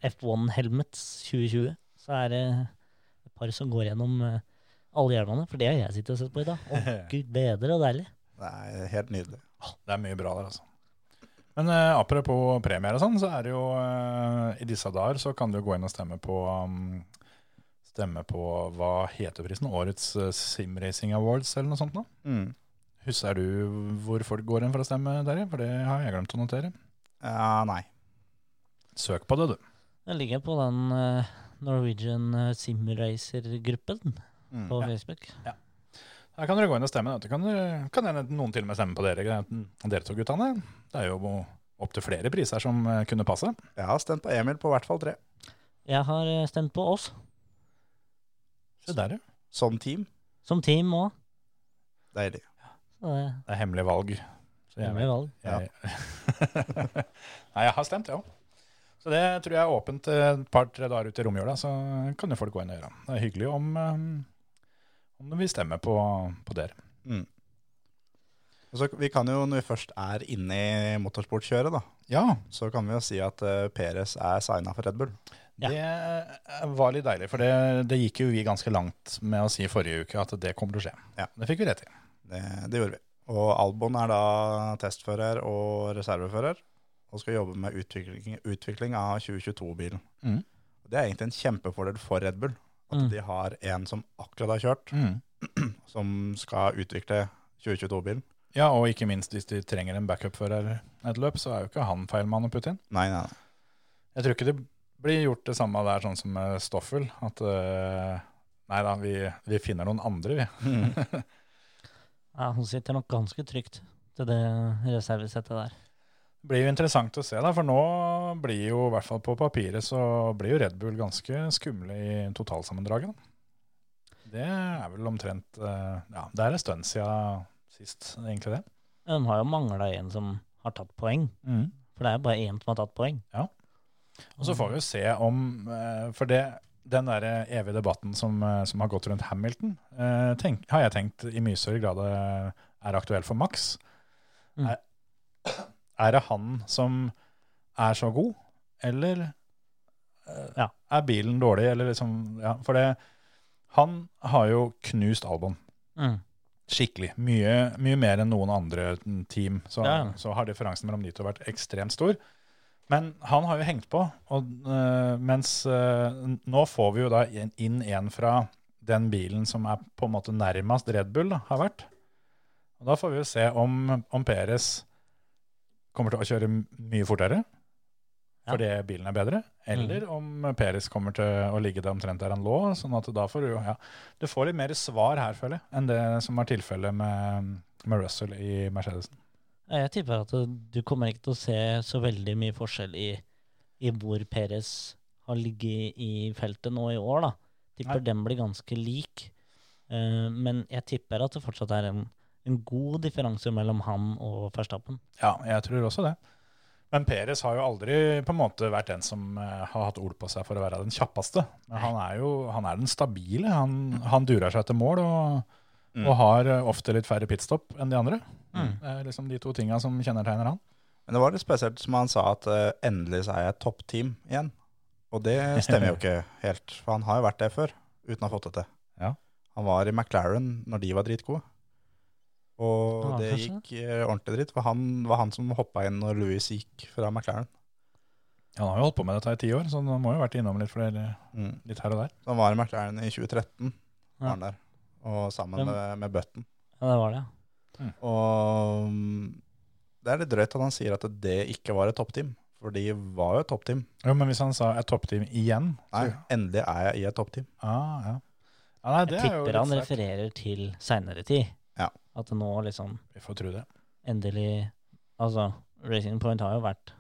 D: F1 Helmets 2020. Så er det et par som går gjennom eh, alle hjelmene, for det har jeg sittet og sett på i dag. Å, gud bedre og deilig.
E: Det er helt nydelig.
A: Det er mye bra der, altså. Men eh, apropos premier og sånn, så er det jo eh, I disse dager så kan du gå inn og stemme på um, Stemme på hva heter prisen? Årets eh, Sim Racing Awards, eller noe sånt noe?
E: Mm.
A: Husker du hvor folk går inn for å stemme, Terje? For det har jeg glemt å notere.
E: Ja, nei.
A: Søk på det, du.
D: Den ligger på den eh, Norwegian eh, Simracer-gruppen
E: Mm.
D: på Facebook.
A: Her kan dere gå inn og stemme. da. Det Kan, dere- kan hende noen til og med stemme på dere, dere to guttene. Det er jo opptil flere priser som eh, kunne passe.
E: Jeg har stemt på Emil på hvert fall tre.
D: Jeg har eh, stemt på oss
A: Se der, ja.
E: Som team.
D: som team òg.
E: Deilig.
D: Så det
A: Det er hemmelig valg. Så
D: det
A: jeg,
D: blir valg.
E: Ja.
A: jeg, Nei, jeg har stemt, jeg ja. òg. Så det tror jeg er åpent eh, et par-tre dager ut i romjula, så kan jo folk gå inn og gjøre. Det er hyggelig om, eh, om de vil stemme på, på dere.
E: Og så vi kan jo, Når vi først er inne i motorsportkjøret, da,
A: Ja,
E: så kan vi jo si at uh, Peres er signa for Red Bull.
D: Ja.
A: det var litt deilig, for det, det gikk jo vi ganske langt med å si forrige uke at det kommer til å skje.
E: Ja.
A: Det fikk vi rett i.
E: Det, det gjorde vi. Og Albon er da testfører og reservefører, og skal jobbe med utvikling, utvikling av 2022-bilen.
A: Mhm.
E: Det er egentlig en kjempefordel for Red Bull, at
D: Mm.
E: de har en som akkurat har kjørt, som skal utvikle 2022-bilen.
A: Ja, og ikke minst hvis de trenger en backup-fører et løp, så er jo ikke han feil mann å putte inn.
E: Nei, nei, nei.
A: Jeg tror ikke det blir gjort det samme der, sånn som med Stoffel, at eh, nei da, vi, vi finner noen andre, vi.
D: Ja, hun sitter nok ganske trygt til det reservesettet der.
A: Det blir jo interessant å se, da, for nå blir jo, i hvert fall på papiret, så blir jo Red Bull ganske skumle i totalsammendraget. da. Det er vel omtrent eh, Ja, det er en stund siden sist, egentlig det.
D: De har jo mangla en som har tatt poeng, for det er jo bare én som har tatt poeng.
A: Ja. Og så får vi jo se om eh, For det, den der evige debatten som, eh, som har gått rundt Hamilton, eh, tenk, har jeg tenkt i mye større grad eh, er aktuell for Max.
D: Mm.
A: Er, er det han som er så god, eller eh,
D: Ja.
A: er bilen dårlig, eller liksom Ja, for det Han har jo knust Albon.
D: Mm.
A: Skikkelig. Mye, mye mer enn noen andre team. Så,
D: Ja.
A: så har differansen mellom de to vært ekstremt stor. Men han har jo hengt på, og, øh, mens øh, nå får vi jo da inn- inn en fra den bilen som er på en måte nærmest Red Bull da, har vært. Og da får vi jo se om, om Peres kommer til å kjøre m- mye fortere,
D: Ja.
A: fordi bilen er bedre, eller om Peres kommer til å ligge der omtrent der han lå, sånn at da får du jo, ja, du får litt mer svar her, føler jeg, enn det som var tilfellet med, med Russell i Mercedesen.
D: Ja, Jeg tipper at uh, du kommer ikke til å se så veldig mye forskjell i, i hvor Perez har ligget i feltet nå i år, da. Tipper
A: Nei.
D: den blir ganske lik. Eh, men jeg tipper at det fortsatt er en, en god differanse mellom han og Verstappen.
A: Ja, jeg tror også det. Men Peres har jo aldri på en måte vært den som eh, har hatt ord på seg for å være den kjappeste. Men han er jo han er den stabile. Han, han durer seg til mål og, og har eh, ofte litt færre pitstop enn de andre. Det er liksom de to tinga som kjennetegner han.
E: Men det var litt spesielt som han sa at eh, endelig så er jeg et toppteam igjen. Og det stemmer jo ikke helt, for han har jo vært det før, uten å ha fått det til.
A: Ja.
E: Han var i McLaren når de var dritgode. Og
D: Ja,
E: det
D: kanskje.
E: gikk eh, ordentlig dritt, for han var han som hoppa inn når Louis gikk fra McLaren.
A: Han har jo holdt på med dette i ti år, så han må jo ha vært innom litt, flere,
E: Mm.
A: litt her og der.
E: Så han var i McLaren i 2013,
D: Ja.
E: var han der. Og sammen
D: Hvem-
E: med, med Button.
D: Ja, det var det.
E: Og mm, det er litt drøyt at han sier at det ikke var et toppteam, for de var jo et toppteam.
A: Jo, men hvis han sa et toppteam igjen
E: Nei,
A: så-
E: endelig er jeg i et toppteam.
A: Ah, ja. ja nei, det
D: Jeg
A: er jo
D: tipper han
A: litt sterkt.
D: refererer til seinere tid.
E: Ja.
D: At nå liksom
A: Vi får tro det.
D: endelig Altså, Racing Point har jo vært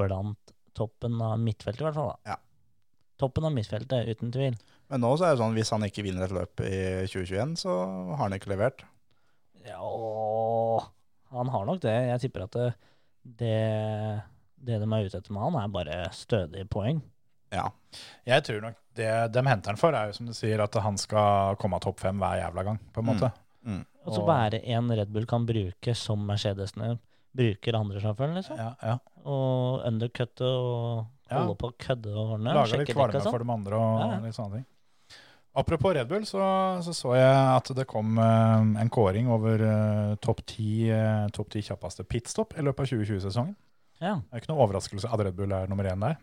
D: blant toppen av midtfeltet, i hvert fall. da.
E: Ja.
D: Toppen av midtfeltet, uten tvil.
E: Men nå så er det sånn, hvis han ikke vinner et løp i 2021, så har han ikke levert.
D: Ja, åh, han har nok det. Jeg tipper at det, det, det de er ute etter med han, er bare stødige poeng.
E: Ja.
A: Jeg tror nok det de henter han for, er jo som du sier, at han skal komme av topp fem hver jævla gang, på en
E: Mm.
A: måte.
D: Og så
A: Og-
D: være en Red Bull kan bruke som Mercedesene bruker andre sjåfører, liksom.
A: Ja, ja.
D: Og undercutte og
A: Ja.
D: holde på å kødde og ordne.
A: Lager litt
D: sjekke dekk
A: kvalme
D: og sånn.
A: for de andre og
D: Ja, ja.
A: litt sånne ting. Apropos Red Bull, så så, så jeg at det kom eh, en kåring over eh, topp ti eh, topp 10 kjappeste pitstop i løpet av 2020-sesongen.
D: Ja.
A: Det er ikke noe overraskelse at Red Bull er nummer én der.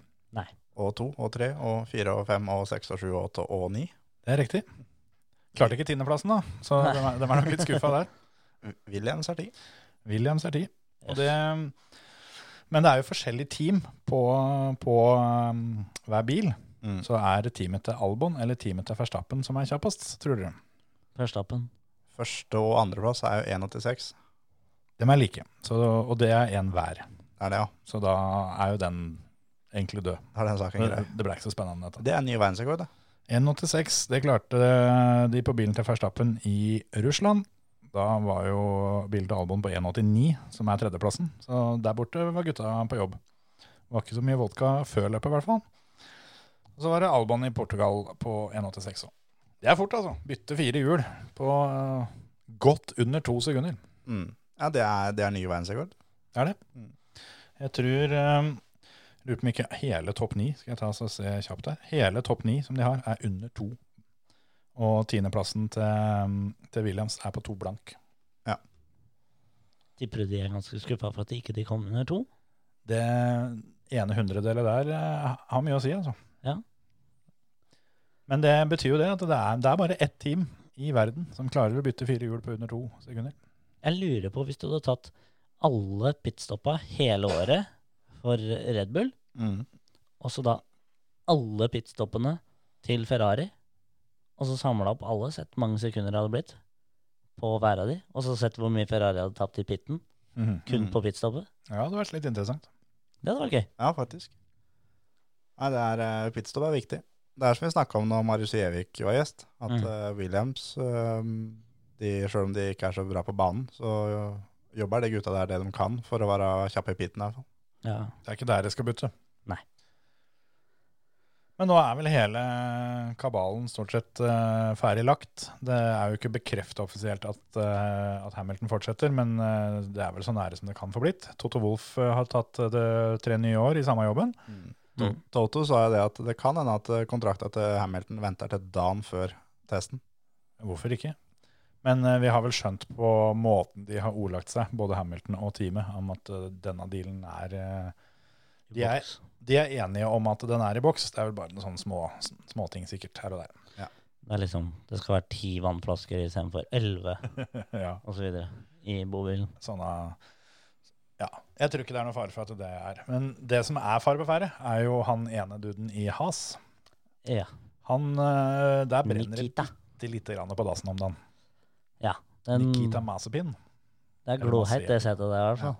E: Og to, og tre, og fire, og fem, og seks, og sju, og åtte, og ni.
A: Det er riktig. Klarte ikke tiendeplassen, da, så de er, de er nok litt skuffa der.
E: Williams er ti.
A: Williams er ti. Og det, men det er jo forskjellige team på, på um, hver bil.
E: Mm.
A: Så er det teamet til Albon eller teamet til Verstappen som er kjappest, tror dere?
D: Førstappen.
E: Første og andreplass er jo 1,86.
A: De er like, så, og det er én hver.
E: Det er det, ja.
A: Så da er jo den egentlig død.
E: Da er den saken
A: Det,
E: grei.
A: det ble ikke så spennende, dette.
E: Det er en ny verdensrekord, det.
A: 1,86, det klarte de på bilen til Verstappen i Russland. Da var jo bilen til Albon på 1,89, som er tredjeplassen. Så der borte var gutta på jobb. Det var ikke så mye vodka før løpet, i hvert fall. Og så var det Albon i Portugal på 1,86 òg. Det er fort, altså. Bytte fire hjul på eh, godt under to sekunder.
E: Mm. Ja, det er, det er ny verdensrekord.
A: Det er det. Jeg tror eh, Lurer på om ikke hele topp ni skal jeg ta og se kjapt her. Hele topp ni som de har, er under to. Og tiendeplassen til, ehm, til Williams er på to blank.
D: De prøvde jeg er ganske skuffa for at de ikke de kom under to.
A: Det ene hundredelet der eh, har mye å si, altså.
D: Ja.
A: Men det betyr jo det at det er, det er bare ett team i verden som klarer å bytte fire hjul på under to sekunder.
D: Jeg lurer på hvis du hadde tatt alle pitstoppa hele året for Red Bull,
E: Mm.
D: og så da alle pitstoppene til Ferrari, og så samla opp alle, sett hvor mange sekunder det hadde blitt på hver av de, og så sett hvor mye Ferrari hadde tapt i pitten,
A: Mhm.
D: kun
E: Mm.
D: på pitstoppet.
A: Ja, det hadde vært litt interessant.
D: Det hadde vært gøy.
E: Ja, faktisk. Nei, det er, eh, pitstop er viktig. Det er som vi snakka om når Marius Gjevik var gjest, at
D: Mm.
E: eh, Williams, eh, de, selv om de ikke er så bra på banen, så jobber de gutta der det de kan for å være kjappe i piten. i hvert fall.
D: Ja.
A: Det er ikke der det skal bytte.
D: Nei.
A: Men nå er vel hele kabalen stort sett eh, ferdig lagt. Det er jo ikke bekrefta offisielt at, eh, at Hamilton fortsetter, men eh, det er vel så nære som det kan få blitt. Toto Wolff eh, har tatt eh, det tre nye år i samme jobben.
E: To-
D: Mm.
E: Toto sa jo det at det kan hende at eh, kontrakta til Hamilton venter til dagen før testen.
A: Hvorfor ikke? Men eh, vi har vel skjønt på måten de har ordlagt seg, både Hamilton og teamet, om at eh, denne dealen er eh, de er,
D: Boks.
A: de er enige om at den er i boks. Det er vel bare noen sånne små, småting sikkert her og der.
D: Det er liksom, det skal være ti vannflasker istedenfor elleve,
A: ja,
D: osv. i bobilen.
A: sånne, ja, jeg tror ikke det er noe fare for at det er. Men det som er fare på ferde, er jo han ene duden i Has.
D: Ja.
A: Han, eh, der brenner det
D: Nikita.
A: bitte lite grann på dassen om dagen.
D: Den,
A: Nikita Mazepin.
D: det er
A: eller hva
D: glohett,
A: sier
D: det setet der, i hvert fall.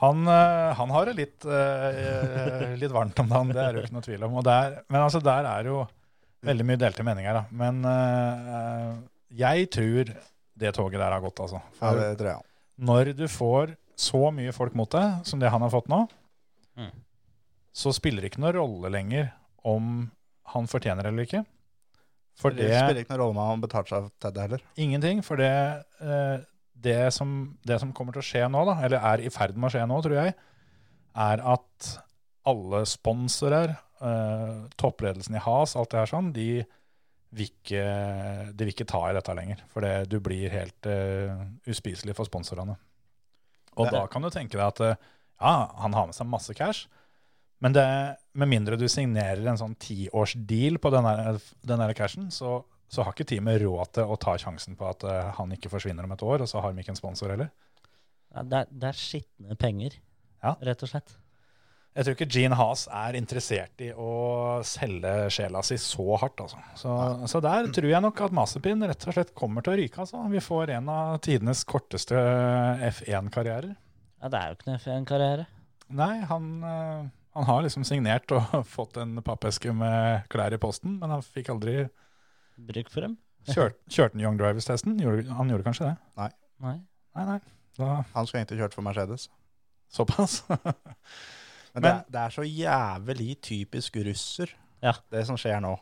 A: Han, eh, han har det litt, eh, litt varmt om dagen, det er det jo ikke noe tvil om. Og der, men altså, der er jo veldig mye delte meninger, da. Men eh, jeg tror det toget der har gått, altså.
E: Ja,
A: For
E: det tror jeg.
A: når du får så mye folk mot deg som det han har fått nå,
D: Mm.
A: så spiller det ikke noen rolle lenger om han fortjener eller ikke. For
E: Det
A: det
E: spiller ikke noen rolle om han betalte seg til det heller.
A: Ingenting, for det, eh, det, som, det som kommer til å skje nå, da, eller er i ferd med å skje nå, tror jeg, er at alle sponsorer, eh, toppledelsen i Has, alt det her sånn, de vil ikke, de vil ikke ta i dette lenger. For det, du blir helt eh, uspiselig for sponsorene. Og
E: Det-
A: da kan du tenke deg at eh, ja, han har med seg masse cash, men det, med mindre du signerer en sånn tiårsdeal på den der- den der cashen, så, så har ikke teamet råd til å ta sjansen på at eh, han ikke forsvinner om et år, og så har de ikke en sponsor heller.
D: Ja, det, er, det er skitne penger,
A: Ja.
D: rett og slett.
A: Jeg tror ikke Gene Haas er interessert i å selge sjela si så hardt, altså. Så, så der tror jeg nok at Mazepin rett og slett kommer til å ryke, altså. Vi får en av tidenes korteste F1-karrierer.
D: Ja, det er jo ikke noe F1-karriere.
A: Nei, han, eh, han har liksom signert og fått en pappeske med klær i posten, men han fikk aldri
D: Bruk for dem.
A: kjørt, kjørt den Young Drivers-testen. Gjorde- Han gjorde kanskje det?
D: Nei.
A: Nei, nei. Da,
E: Han skulle egentlig kjørt for Mercedes.
A: såpass. Men-
E: Men, det, det er så jævlig typisk russer,
D: Ja.
E: det som skjer nå.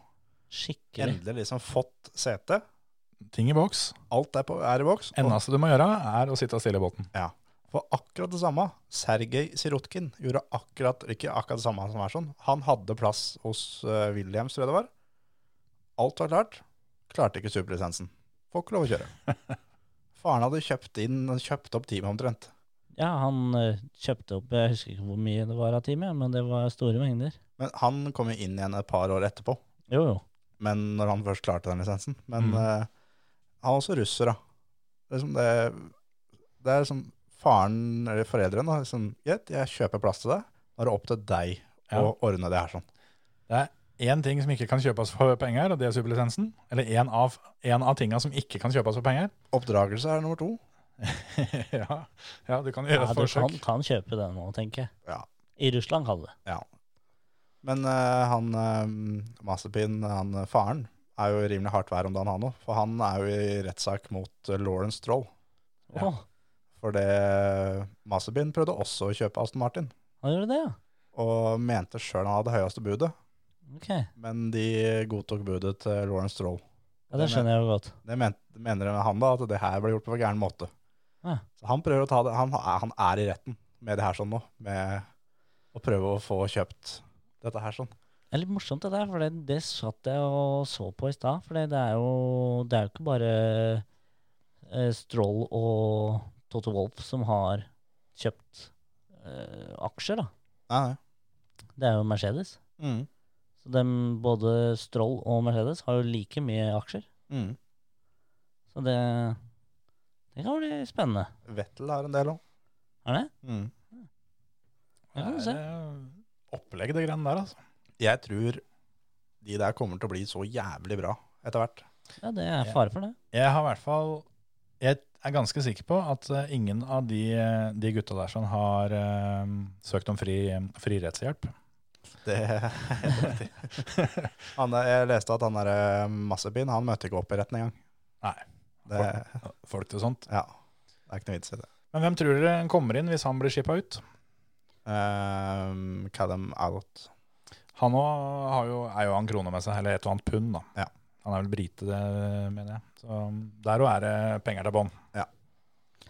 D: Skikkelig.
E: Endelig liksom fått sete.
A: Ting i boks.
E: Alt er, på, er i boks. Og
A: Eneste du må gjøre, er å sitte stille i båten.
E: for akkurat det samme, Sergej Sirotkin gjorde akkurat ikke akkurat det samme som er sånn. Han hadde plass hos eh, Williams, tror jeg det var. Alt var klart. Klarte ikke superlisensen. Får ikke lov å kjøre. Faren hadde kjøpt, inn, kjøpt opp teamet omtrent.
D: Ja, han eh, kjøpte opp Jeg husker ikke hvor mye det var av time, men det var store mengder.
E: Men han kom jo inn igjen et par år etterpå.
D: Jo, jo.
E: men når han først klarte den lisensen. Men
A: Mm.
E: eh, han er også russer, da. Det er som det, det er som faren eller foreldrene da, liksom, Greit, jeg kjøper plass til deg. Nå er det opp til deg å
A: Ja.
E: ordne det her sånn.
A: én ting som ikke kan kjøpes for penger, og det er superlisensen. Eller én av, en av tinga som ikke kan kjøpes for penger.
E: Oppdragelse er nummer to.
A: ja, ja, du kan gjøre
D: Ja,
A: et
D: du kan,
A: forsøk.
D: kan kjøpe den nå, tenker jeg.
E: Ja.
D: I Russland kan du det.
E: Men eh, han uh, Mazepin, han eh, faren, er jo i rimelig hardt vær om dagen, han òg. For han er jo i rettssak mot eh, Lawrence Stroll.
A: Ja.
D: Åh,
E: For det Mazepin prøvde også å kjøpe Aston Martin,
D: han gjorde det, ja.
E: og mente sjøl han hadde høyeste budet.
D: Ok.
E: Men de godtok budet til Lawrence Stroll.
D: Ja, det skjønner jeg jo godt.
E: Det men, mener han da, at det her ble gjort på en gæren måte.
D: Ja.
E: Så han prøver å ta det, han, er- han er i retten med det her sånn nå, med å prøve å få kjøpt dette her sånn.
D: Det er litt morsomt det der, for det, det satt jeg og så på i stad. For det er jo det er jo ikke bare eh, Stroll og Toto Wolff som har kjøpt eh, aksjer, da.
E: Nei, nei.
D: Det er jo Mercedes.
E: Mm.
D: Så dem, både Stroll og Mercedes har jo like mye aksjer.
E: Mm.
D: Så det, det kan bli spennende.
E: Vettel har en del også.
D: Er det?
E: Mm.
D: Det kan du se.
A: Eh, Opplegg, det greiene der, altså.
E: Jeg tror de der kommer til å bli så jævlig bra etter hvert.
D: Ja, det er fare for det.
A: Jeg har i hvert fall Jeg er ganske sikker på at eh, ingen av de, eh, de gutta der som har eh, søkt om fri, eh, fri rettshjelp.
E: Det han, der- Jeg leste at han der eh, Massepin, han møtte ikke opp i retten engang.
A: Nei.
E: Det,
A: Folk til sånt.
E: ja, det er ikke noe vits i det.
A: Men hvem tror dere kommer inn hvis han blir skippa ut?
E: Um, Callum Out.
A: Han også har jo, er jo han krone med seg, eller et og annet pund, da.
E: Ja.
A: Han er vel brite, det mener jeg. Så der òg er det penger til bånn.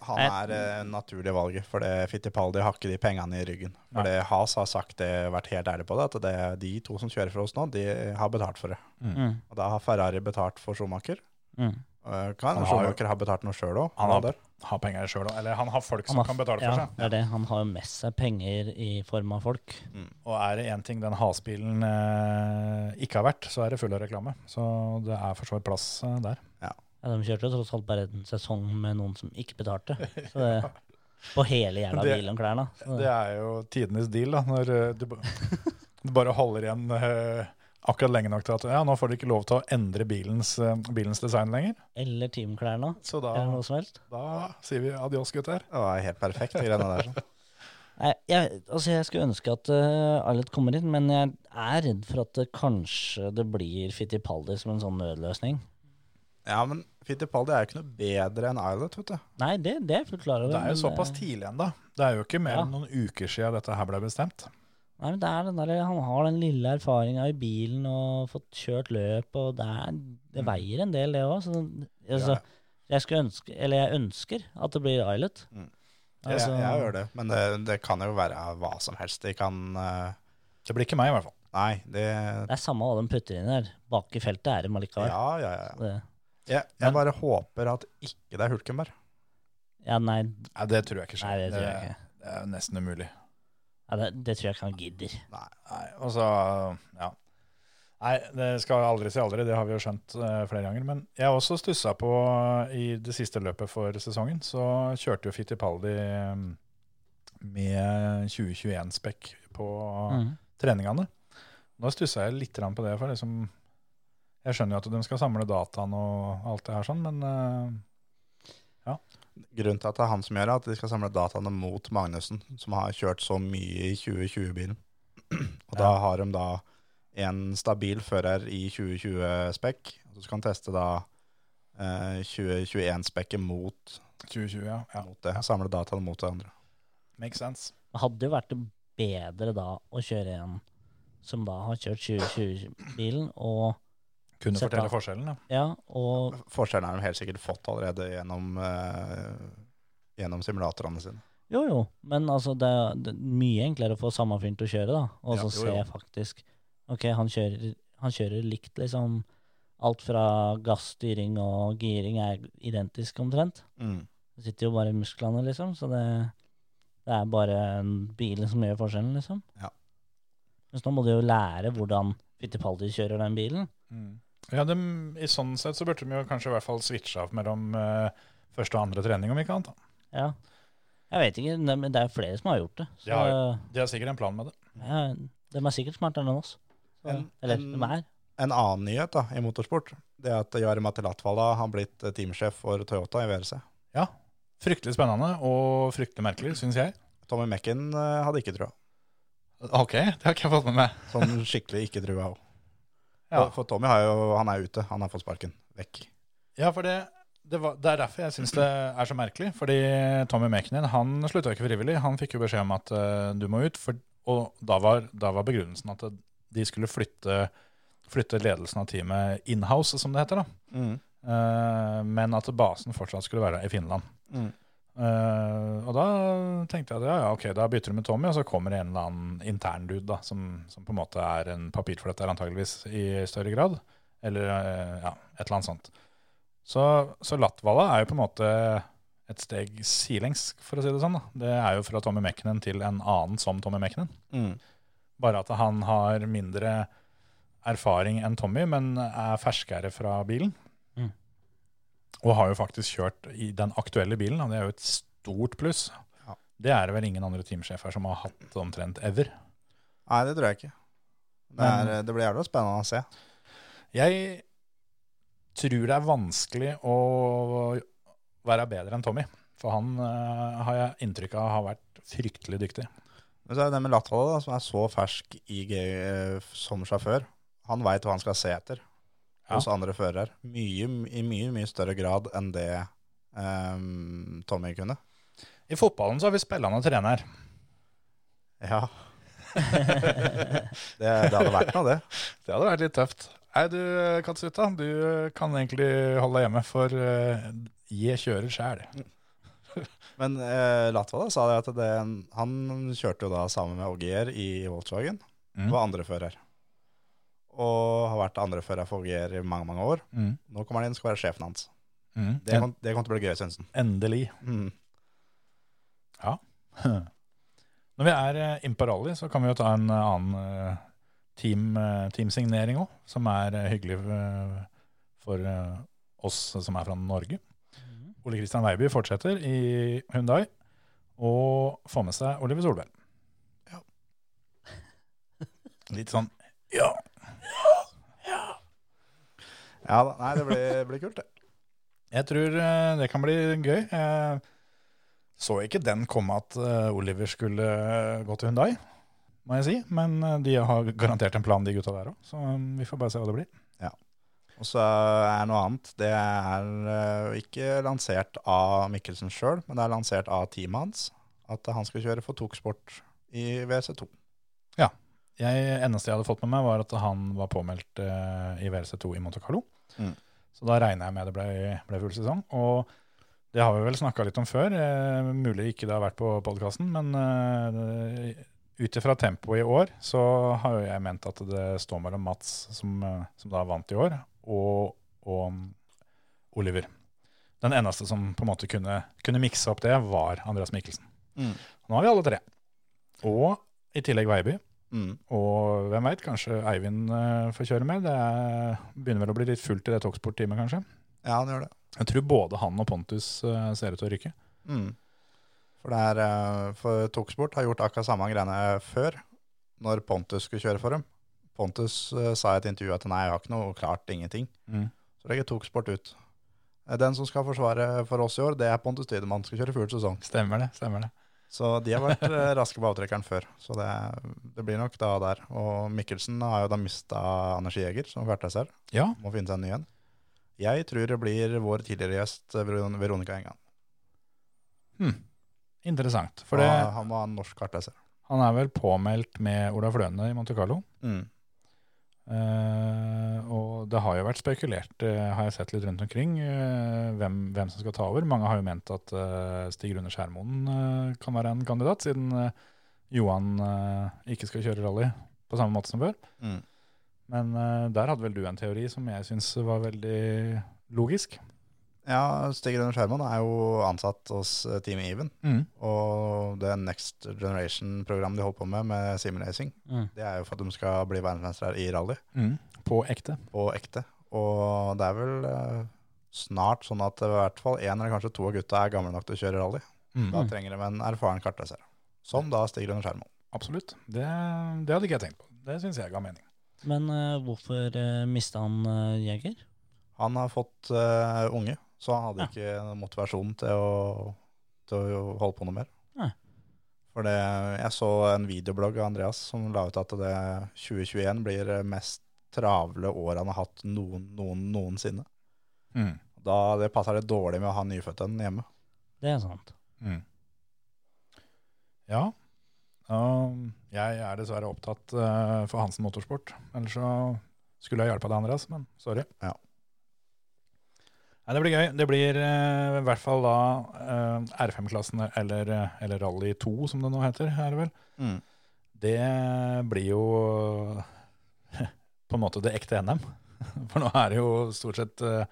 E: Han
D: Jeg-
E: er eh, naturlig valget, for det Fittipaldi har ikke de pengene i ryggen.
A: Nei.
E: For det Has har sagt det, vært helt ærlig på det, at det, de to som kjører for oss nå, de har betalt for det.
D: Mm.
E: Og da har Ferrari betalt for Schumacher.
D: Mm.
E: Eh, Kan
A: Han har jo-
E: Schumacher ha betalt noe sjøl òg?
A: Han har, har penger sjøl òg. Eller han har folk som
D: Han har-
A: kan betale
D: ja,
A: for seg.
D: Det er det. Han har jo med seg penger i form av folk.
A: Og er det én ting den hasbilen eh, ikke har vært, så er det full av reklame. Så det er for så vidt plass eh, der.
D: Ja, de kjørte jo tross alt bare en sesong med noen som ikke betalte. Så det, på hele jævla
A: Det-
D: bilen og klærne. Så
A: Det er jo tidenes deal, da, når eh, du, ba- du bare holder igjen eh, akkurat lenge nok til at ja, nå får du ikke lov til å endre bilens, eh, bilens design lenger.
D: eller teamklærne,
A: Så da,
D: eller noe som helst.
A: da sier vi adios, gutter.
E: Det var helt perfekt, de greiene der. sånn.
D: Nei, jeg, altså jeg skulle ønske at uh, Arlet kommer inn, men jeg er redd for at det kanskje det blir Fittipaldi som en sånn nødløsning.
E: Ja, men Fittipaldi er jo ikke noe bedre enn Islet, vet du.
D: Nei, det, det er jeg fullt klar over.
A: Det er jo
D: men,
A: såpass
D: eh,
A: tidlig ennå. Det er jo ikke mer
D: Ja.
A: enn noen uker siden dette her ble bestemt.
D: Nei, men det er den der, Han har den lille erfaringa i bilen og fått kjørt løp, og det, er, det
A: Mm.
D: veier en del, det òg. Så
E: Ja,
D: altså, jeg, skulle ønske, eller jeg ønsker at det blir Islet.
E: Mm. Jeg,
D: Altså,
E: jeg gjør det, men det, det kan jo være hva som helst. De kan eh,
A: Det blir ikke meg, i hvert fall.
E: Nei, det
D: det er samme hva de putter inn her. Bak i feltet er de
E: Ja,
D: allikevel.
E: ja, ja. ja.
D: Det,
E: Jeg,
A: Men-
E: jeg bare håper at ikke det er Hulkenberg.
D: ja, nei,
A: Nei, det tror jeg ikke
D: nei,
A: skjer.
D: det tror jeg ikke.
A: Det er nesten umulig.
D: Nei, det, det tror jeg ikke han gidder.
A: Nei, og så, ja. Nei, det skal aldri si aldri, det har vi jo skjønt eh, flere ganger. Men jeg har også stussa på eh, i det siste løpet for sesongen, så kjørte jo Fittipaldi eh, med 2021-spekk på
D: Mm.
A: treningene. Da stussa jeg litt grann på det. for liksom, Jeg skjønner jo at de skal samle dataen og alt det her, sånn, men eh,
E: Grunnen til at det er han som gjør det, er at de skal samle dataene mot Magnussen, som har kjørt så mye i 2020-bilen. Og da
A: Ja.
E: har de da en stabil fører i 2020-spekk, og så skal han teste da eh, 2021-spekket mot,
A: 2020, ja. ja.
E: mot det. Samle dataene mot hverandre.
A: Makes sense.
D: Det hadde jo vært bedre da å kjøre en som da har kjørt 2020-bilen, og
A: Kunne
D: Sett
A: fortelle
D: da.
A: forskjellen, ja.
D: ja, og
E: Forskjellen har de helt sikkert fått allerede gjennom, eh, gjennom simulatorene sine.
D: jo jo, men altså det er, det er mye enklere å få samme fyren til å kjøre da, og
E: Ja,
D: så
E: jo,
D: se
E: jo.
D: faktisk, ok, han kjører, han kjører likt liksom, alt fra gassstyring og giring er identisk omtrent. Det sitter jo bare i musklene liksom, så det, det er bare en bilen som gjør forskjellen liksom.
E: Ja.
D: Men så nå må du jo lære hvordan Fittipaldi kjører den bilen.
A: Mm. Ja, dem- I sånn sett så burde de jo kanskje i hvert fall switche av mellom eh, første og andre trening, om ikke annet. da.
D: Ja. Jeg vet ikke, ne- men det er flere som har gjort det. Så
A: Det har jo. De har sikkert en plan med det.
D: ja, de er sikkert smartere enn oss. Så,
E: En-
D: eller
E: en-
D: de er.
E: En annen nyhet da, i motorsport, det er at Jari Matti Latvala har blitt eh, teamsjef for Toyota i VRC.
A: Fryktelig spennende og fryktelig merkelig, syns jeg.
E: Tommy Mekken eh, hadde ikke trua.
A: OK, det har ikke jeg fått med meg.
E: Sånn skikkelig ikke trua òg.
A: Ja.
E: For Tommy har jo, han er ute, han har fått sparken vekk.
A: Ja, for det, det, var, det er derfor jeg syns det er så merkelig. Fordi Tommy Makinen han slutta ikke frivillig. Han fikk jo beskjed om at eh, du må ut. For, og da var, da var begrunnelsen at de skulle flytte flytte ledelsen av teamet inhouse, som det heter. da.
E: Mm.
A: Eh, men at basen fortsatt skulle være i Finland.
E: Mm.
A: Eh, og da tenkte jeg at ja, ja, ok, da bytter du med Tommy, og så kommer det en eller annen intern dude da, som, som på en måte er en papirflytter antageligvis i større grad. Eller eh, ja, et eller annet sånt. Så, så Latvala er jo på en måte et steg sidelengs, for å si det sånn. da. Det er jo fra Tommy Mekkinen til en annen som Tommy Mekkinen.
E: Mm.
A: Bare at han har mindre erfaring enn Tommy, men er ferskere fra bilen.
D: Mm.
A: Og har jo faktisk kjørt i den aktuelle bilen, og det er jo et stort pluss.
E: Ja.
A: Det er det vel ingen andre teamsjefer som har hatt omtrent ever.
E: Nei, det tror jeg ikke. Det,
A: Men-
E: er, det blir jævla spennende å se.
A: Jeg tror det er vanskelig å være bedre enn Tommy, for han eh, har jeg inntrykk av har vært fryktelig dyktig.
E: Men så er det det med Latvala, da, som er så fersk i G eh, som sjåfør. Han veit hva han skal se etter hos andre førere. Mye, I mye, mye større grad enn det ehm, Tommy kunne.
A: I fotballen så har vi spillende trener.
E: Ja. det, det hadde vært noe, det.
A: Det hadde vært litt tøft. Nei, du Katsuta, du kan egentlig holde deg hjemme, for eh, jeg kjører sjæl.
E: Men eh, Latvala sa det at det, han kjørte jo da sammen med OGR i Volkswagen.
A: Mm.
E: Var andrefører. Og har vært andrefører for OGR i mange, mange år.
A: Mm.
E: Nå kommer han inn og skal være sjefen hans.
A: Mm.
E: Det kom- det kommer til å bli gøy, Sønsen.
A: Endelig.
E: Mm.
A: Når vi er eh, inn på rally, så kan vi jo ta en eh, annen eh, team, eh, teamsignering òg, som er eh, hyggelig eh, for eh, oss som er fra Norge.
D: Mhm.
A: Ole Kristian Weiby fortsetter i Hundai og får med seg Oliver Solberg. Litt sånn ja.
E: Ja, da. nei, det blir, blir kult, det.
A: Jeg tror eh, det kan bli gøy. Jeg så ikke den komme at eh, Oliver skulle eh, gå til Hyundai, må jeg si. Men eh, de har garantert en plan, de gutta der òg. Så eh, vi får bare se hva det blir.
E: Og så er noe annet. Det er eh, ikke lansert av Mikkelsen sjøl, men det er lansert av teamet hans. At han skal kjøre for Toksport i WC2.
A: Jeg, eneste jeg hadde fått med meg, var at han var påmeldt eh, i WRC2 i Monte Carlo.
E: Mm.
A: Så da regner jeg med det ble, ble full sesong. Og det har vi vel snakka litt om før. Eh, mulig ikke det har vært på podkasten, men eh, ut ifra tempoet i år, så har jo jeg ment at det står mellom Mats, som, eh, som da vant i år, og, og Oliver. Den eneste som på en måte kunne, kunne mikse opp det, var Andreas Mikkelsen.
E: Mm.
A: Nå har vi alle tre. Og i tillegg Veiby.
E: Mm.
A: Og hvem veit, kanskje Eivind eh, får kjøre med. Det er, begynner vel å bli litt fullt i det Talksport-teamet, kanskje.
E: Ja, han gjør det.
A: Jeg tror både han og Pontus eh, ser ut til å ryke.
E: Mm. For, det er, eh, for Toksport har gjort akkurat samme greiene før, når Pontus skulle kjøre for dem. Pontus eh, sa i et intervju at nei, jeg har ikke noe klart ingenting.
A: Mm.
E: Så legger Toksport ut. Eh, Den som skal forsvare for oss i år, det er Pontus Tidemann. Skal kjøre full sesong.
A: Stemmer det. stemmer det.
E: Så de har vært eh, raske på avtrekkeren før. Så det, det blir nok da der. Og Mikkelsen har jo da mista Anders Jæger, som klarte seg selv.
A: Ja,
E: Må finne seg en ny en. Jeg tror det blir vår tidligere gjest eh, Veron- Veronica Engan.
A: Hm. interessant. For
E: For
A: det,
E: han må ha en norsk kartleser.
A: han er vel påmeldt med Olaf Løne i Monte Carlo.
E: Mm.
A: Eh, og det har jo vært spekulert, eh, har jeg sett litt rundt omkring, eh, hvem, hvem som skal ta over. Mange har jo ment at eh, Stig Rune Skjærmoen eh, kan være en kandidat, siden eh, Johan eh, ikke skal kjøre rally på samme måte som før.
E: Mm.
A: Men eh, der hadde vel du en teori som jeg syns var veldig logisk.
E: Ja, Stig Rønner Skjerman er jo ansatt hos eh, Team Even.
A: Mm,
E: Og det Next Generation-programmet de holder på med, med simracing,
D: Mm.
E: det er jo for at de skal bli verdensmestere i rally.
A: mm. På ekte.
E: på ekte. Og det er vel eh, snart sånn at i hvert fall én eller kanskje to av gutta er gamle nok til å kjøre rally. Da
A: Da-
E: trenger de en erfaren kartleser. Som da stiger under skjermen.
A: Absolutt. Det, det hadde ikke jeg tenkt på. Det syns jeg ga mening.
D: Men eh, hvorfor uh, mista han uh, Jeger?
E: Han har fått eh, unge, så han hadde ikke noen motivasjon til å, til å holde på noe mer.
D: Nei.
E: For det, jeg så en videoblogg av Andreas som la ut at det 2021 blir det mest travle året han har hatt noen, noen, noensinne.
A: Mm,
E: Da det passer det dårlig med å ha nyfødten hjemme.
D: Det er sant.
A: mm. Ja. Um, jeg er dessverre opptatt eh, for Hansen Motorsport. Ellers så Skulle ha hjulpet det andre, altså, men sorry.
E: Ja.
A: Nei, det blir gøy. Det blir eh, i hvert fall da eh, R5-klassen, eller, eh, eller Rally 2 som det nå heter, er det vel.
E: Mm.
A: Det blir jo eh, på en måte det ekte NM. For nå er det jo stort sett eh,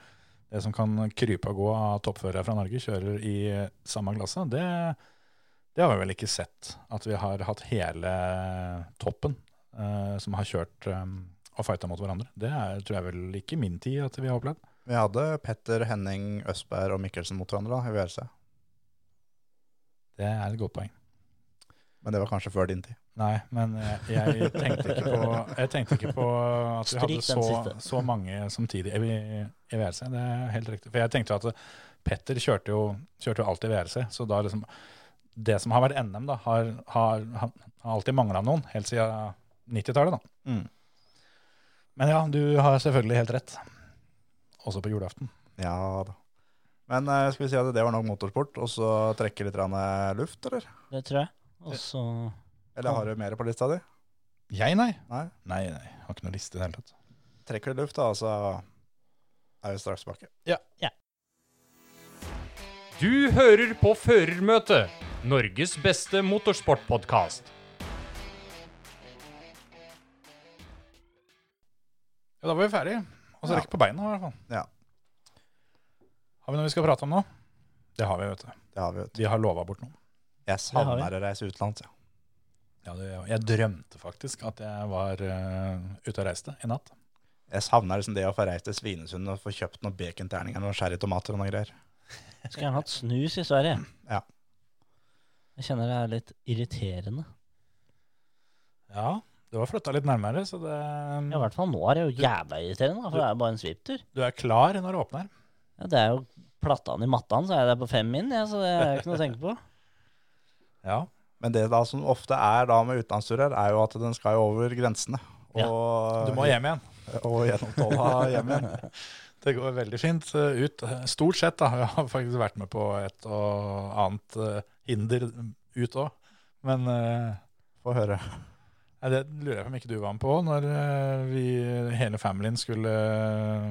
A: det som kan krype og gå av toppførere fra Norge, kjører i eh, samme klasse. Det, det har vi vel ikke sett, at vi har hatt hele toppen eh, som har kjørt eh, og fighta mot hverandre. Det er, tror jeg vel ikke i min tid at vi har opplevd.
E: Vi hadde Petter, Henning, Østberg og Mikkelsen mot hverandre da, i VRC.
A: Det er et godt poeng.
E: Men det var kanskje før din tid.
A: Nei, men jeg, jeg tenkte ikke på, jeg tenkte ikke på at vi hadde
D: Stryk den
A: så,
D: siste.
A: så mange samtidig E i, i VRC. Det er helt riktig. For jeg tenkte at Petter kjørte jo, kjørte jo alltid VRC, så da liksom Det som har vært NM, da, har, har, har alltid mangla noen, helt siden 90-tallet, da.
E: Mm.
A: Men ja, du har selvfølgelig helt rett. Også på julaften.
E: Ja da. Men eh, skal vi si at det var nok motorsport, og så trekke litt grann, eh, luft, eller?
D: Det tror jeg. Og så
E: Eller har du mer på lista di?
A: Jeg, nei.
E: Nei?
A: Nei, nei. Har ikke noe liste i det hele tatt.
E: Trekker litt luft, da, og så er vi straks tilbake.
F: Du hører på Førermøtet, Norges beste motorsportpodkast.
A: Ja, da var vi ferdige. Og så
E: Ja.
A: rekke på beina, i hvert fall.
E: Ja.
A: Har vi noe vi skal prate om nå? Det har vi, vet du.
E: Det har vi, vet du.
A: Vi har lova bort noe.
E: Jeg
D: har vi.
E: savner å reise utenlands, ja.
A: Ja, det, jeg drømte faktisk at jeg var eh, ute og reiste i natt.
E: Jeg savner liksom det å få reist til Svinesund og få kjøpt noen baconterninger og noen sherrytomater og noen greier.
D: skulle gjerne hatt snus i Sverige.
E: Ja.
D: Jeg kjenner det er litt irriterende.
A: Ja, du har flytta litt nærmere, så det,
D: Ja, I hvert fall nå er det jo jævla irriterende, da, for det er jo bare en sviptur.
A: du er klar når du åpner.
D: Ja, det er jo plattan i mattan, så er jeg der på fem min, ja, så det er jo ikke noe å tenke på.
A: Ja.
E: Men det da som ofte er da med utenlandsturer, er jo at den skal jo over grensene. Og,
A: Du må hjem igjen.
E: og gjennom tolla hjem igjen.
A: Det går veldig fint eh, ut. Stort sett, da. Jeg har faktisk vært med på et og annet eh, hinder ut òg. Men eh,
E: Få høre.
A: Nei, det lurer jeg på om ikke du var med på når eh, vi, hele familien skulle eh,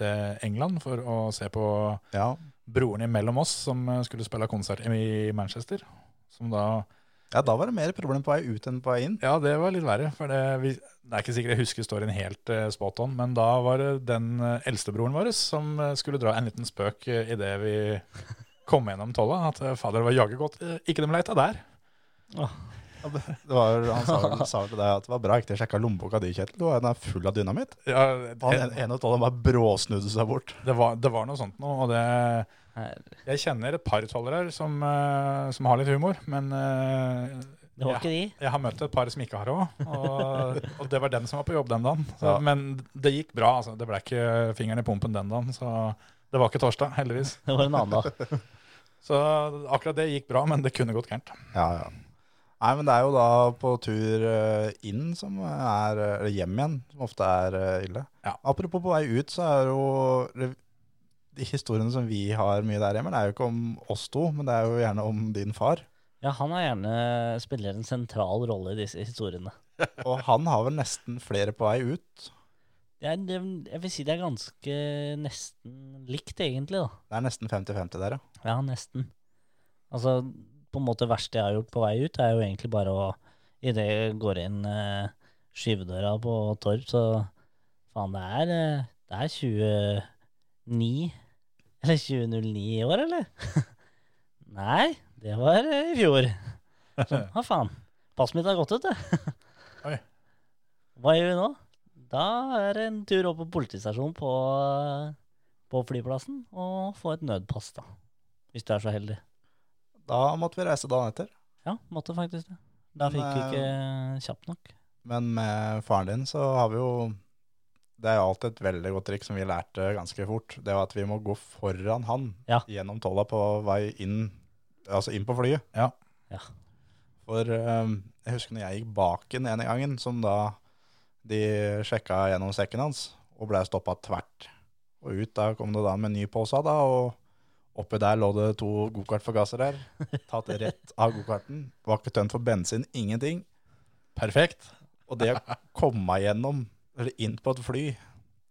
A: til England for å se på
E: Ja.
A: broren imellom oss som eh, skulle spille konsert i Manchester. Som da
E: ja, da var det mer problem på vei ut enn på vei inn.
A: Ja, det var litt verre. For det, vi, det er ikke sikkert jeg husker storyen helt eh, spot on, men da var det den eh, eldstebroren vår som eh, skulle dra en liten spøk eh, i det vi kom gjennom tolla. At eh, fader, det var jaggu godt. eh, Ikke de leita der.
E: Det var, han sa vel sa vel til deg at det var bra ikke jeg sjekka lommeboka di, Kjetil. Du er full av dynamitt.
A: Ja,
E: Han
A: det,
E: en- en av tolla bare bråsnudde seg bort.
A: det, var, det var noe sånt noe, og det
D: Her,
A: Jeg kjenner et par tollere her som, eh, som har litt humor, men eh,
D: det var
A: Ja.
D: ikke de.
A: jeg har møtt et par som ikke har òg. Og, og det var dem som var på jobb den dagen. Så,
E: Ja.
A: Men det gikk bra. altså. Det ble ikke fingeren i pumpen den dagen, så det var ikke torsdag, heldigvis.
D: Det var en annen dag.
A: Så akkurat det gikk bra, men det kunne gått gærent.
E: Ja, ja. Nei, men det er jo da på tur eh, inn som er eh, Eller hjem igjen, som ofte er eh, ille.
A: Ja.
E: Apropos på vei ut, så er jo eller, de historiene som vi har mye der hjemme, det er jo ikke om oss to, men det er jo gjerne om din far.
D: Ja, han har gjerne spiller en sentral rolle i disse historiene.
E: Og han har vel nesten flere på vei ut.
D: Det er, det, jeg vil si det er ganske nesten likt, egentlig, da.
E: Det er nesten 50-50 der, ja.
D: Ja, nesten. Altså, på en måte det verste jeg har gjort på vei ut, er jo egentlig bare å Idet jeg går inn eh, skyvedøra på Torp, så faen, det er, eh, det er 29 Eller 2009 i år, eller? Nei, det var eh, i fjor. Sånn, hva faen. Passet mitt har gått ut, det.
A: Oi.
D: Hva gjør vi nå? Da er det en tur opp på politistasjonen på, eh, på flyplassen og få et nødpass, da. Hvis du er så heldig.
E: Da måtte vi reise dagen etter.
D: Ja, måtte faktisk det. Da
E: Men,
D: fikk vi ikke kjapt nok.
E: Men med faren din så har vi jo Det er jo alltid et veldig godt trikk som vi lærte ganske fort. Det var at vi må gå foran han
D: Ja.
E: gjennom tolla på vei inn, altså inn på flyet.
A: Ja.
D: Ja.
E: For eh, jeg husker når jeg gikk bak en ene gangen, som da de sjekka gjennom sekken hans, og blei stoppa tvert. Og ut da kom det da med en ny pose, da, og oppi der lå det to gokartforgassere her. Tatt rett av gokarten. Var ikke tømt for bensin, ingenting.
A: Perfekt.
E: Og det å komme meg gjennom eller inn på et fly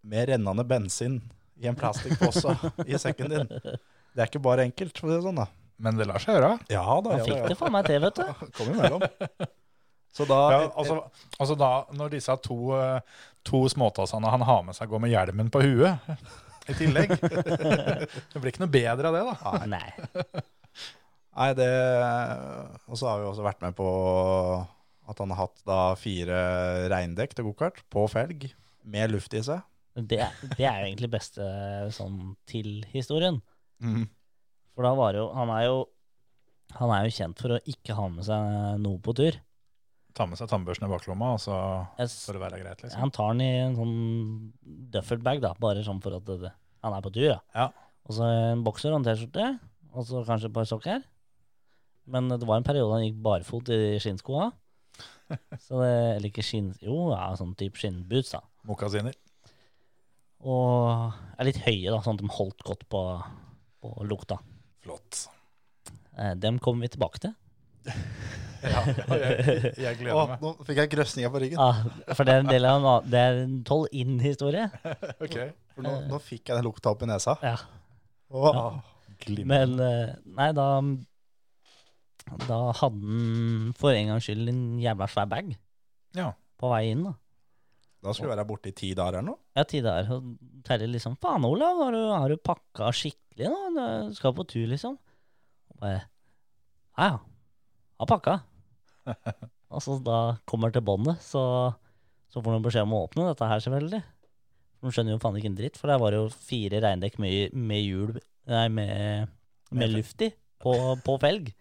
E: med rennende bensin i en plastikkpose i sekken din. Det er ikke bare enkelt, for å si det sånn, da.
A: Men det lar seg gjøre.
E: Ja da. ja,
D: Han fikk
E: ja.
D: det faen meg til, vet du.
E: Kom imellom. Så da
A: Ja, altså, altså da, når disse to, eh, to småtassene han har med seg, går med hjelmen på huet i tillegg Det blir ikke noe bedre av det, da.
D: Nei.
E: Nei, det Og så har vi også vært med på at han har hatt da fire reindekk til gokart på felg med luft i seg.
D: Det, det er jo egentlig beste sånn til historien.
E: Mhm.
D: For da var jo han, er jo han er jo kjent for å ikke ha med seg noe på tur.
A: Ta med seg tannbørsten i baklomma, og så
D: Jeg, s-
A: får det være greit, liksom.
D: han tar den i en sånn duffelbag, da, bare sånn for at det, det- han er på tur. Da.
A: Ja.
D: Og så en bokser og en T-skjorte, og så kanskje et par sokker. Men det var en periode han gikk barfot i skinnskoa. Så det, eller ikke skinn... Jo, ja, sånn type skinnboots, da.
A: Mokasiner.
D: Og er litt høye, da, sånn at de holdt godt på, på lukta.
A: Flott.
D: Eh, Dem kommer vi tilbake til.
A: Ja, jeg, jeg gleder meg.
E: nå fikk jeg grøsninga på ryggen.
D: Ja, Ah, for det er en del av en annen- Det er en tolv inn-historie.
A: Ok.
E: For nå, nå fikk jeg den lukta opp i nesa.
D: Ja.
E: Åh,
D: Men eh, nei, da Da hadde han for en gangs skyld en jævla svær bag
A: Ja.
D: på vei inn. da.
E: Da skulle vi være borte i ti dager eller noe.
D: Ja, ti dager. Og Terje liksom 'Faen, Olav, har du, har du pakka skikkelig nå? Du skal på tur, liksom?' Og bare 'Ja, ja. Har pakka'. og så da kommer til båndet, så, så får han beskjed om å åpne dette her, selvfølgelig. De skjønner jo faen ikke en dritt, for der var det jo fire reindekk med, med hjul Nei, med, med luft i, på, på felg.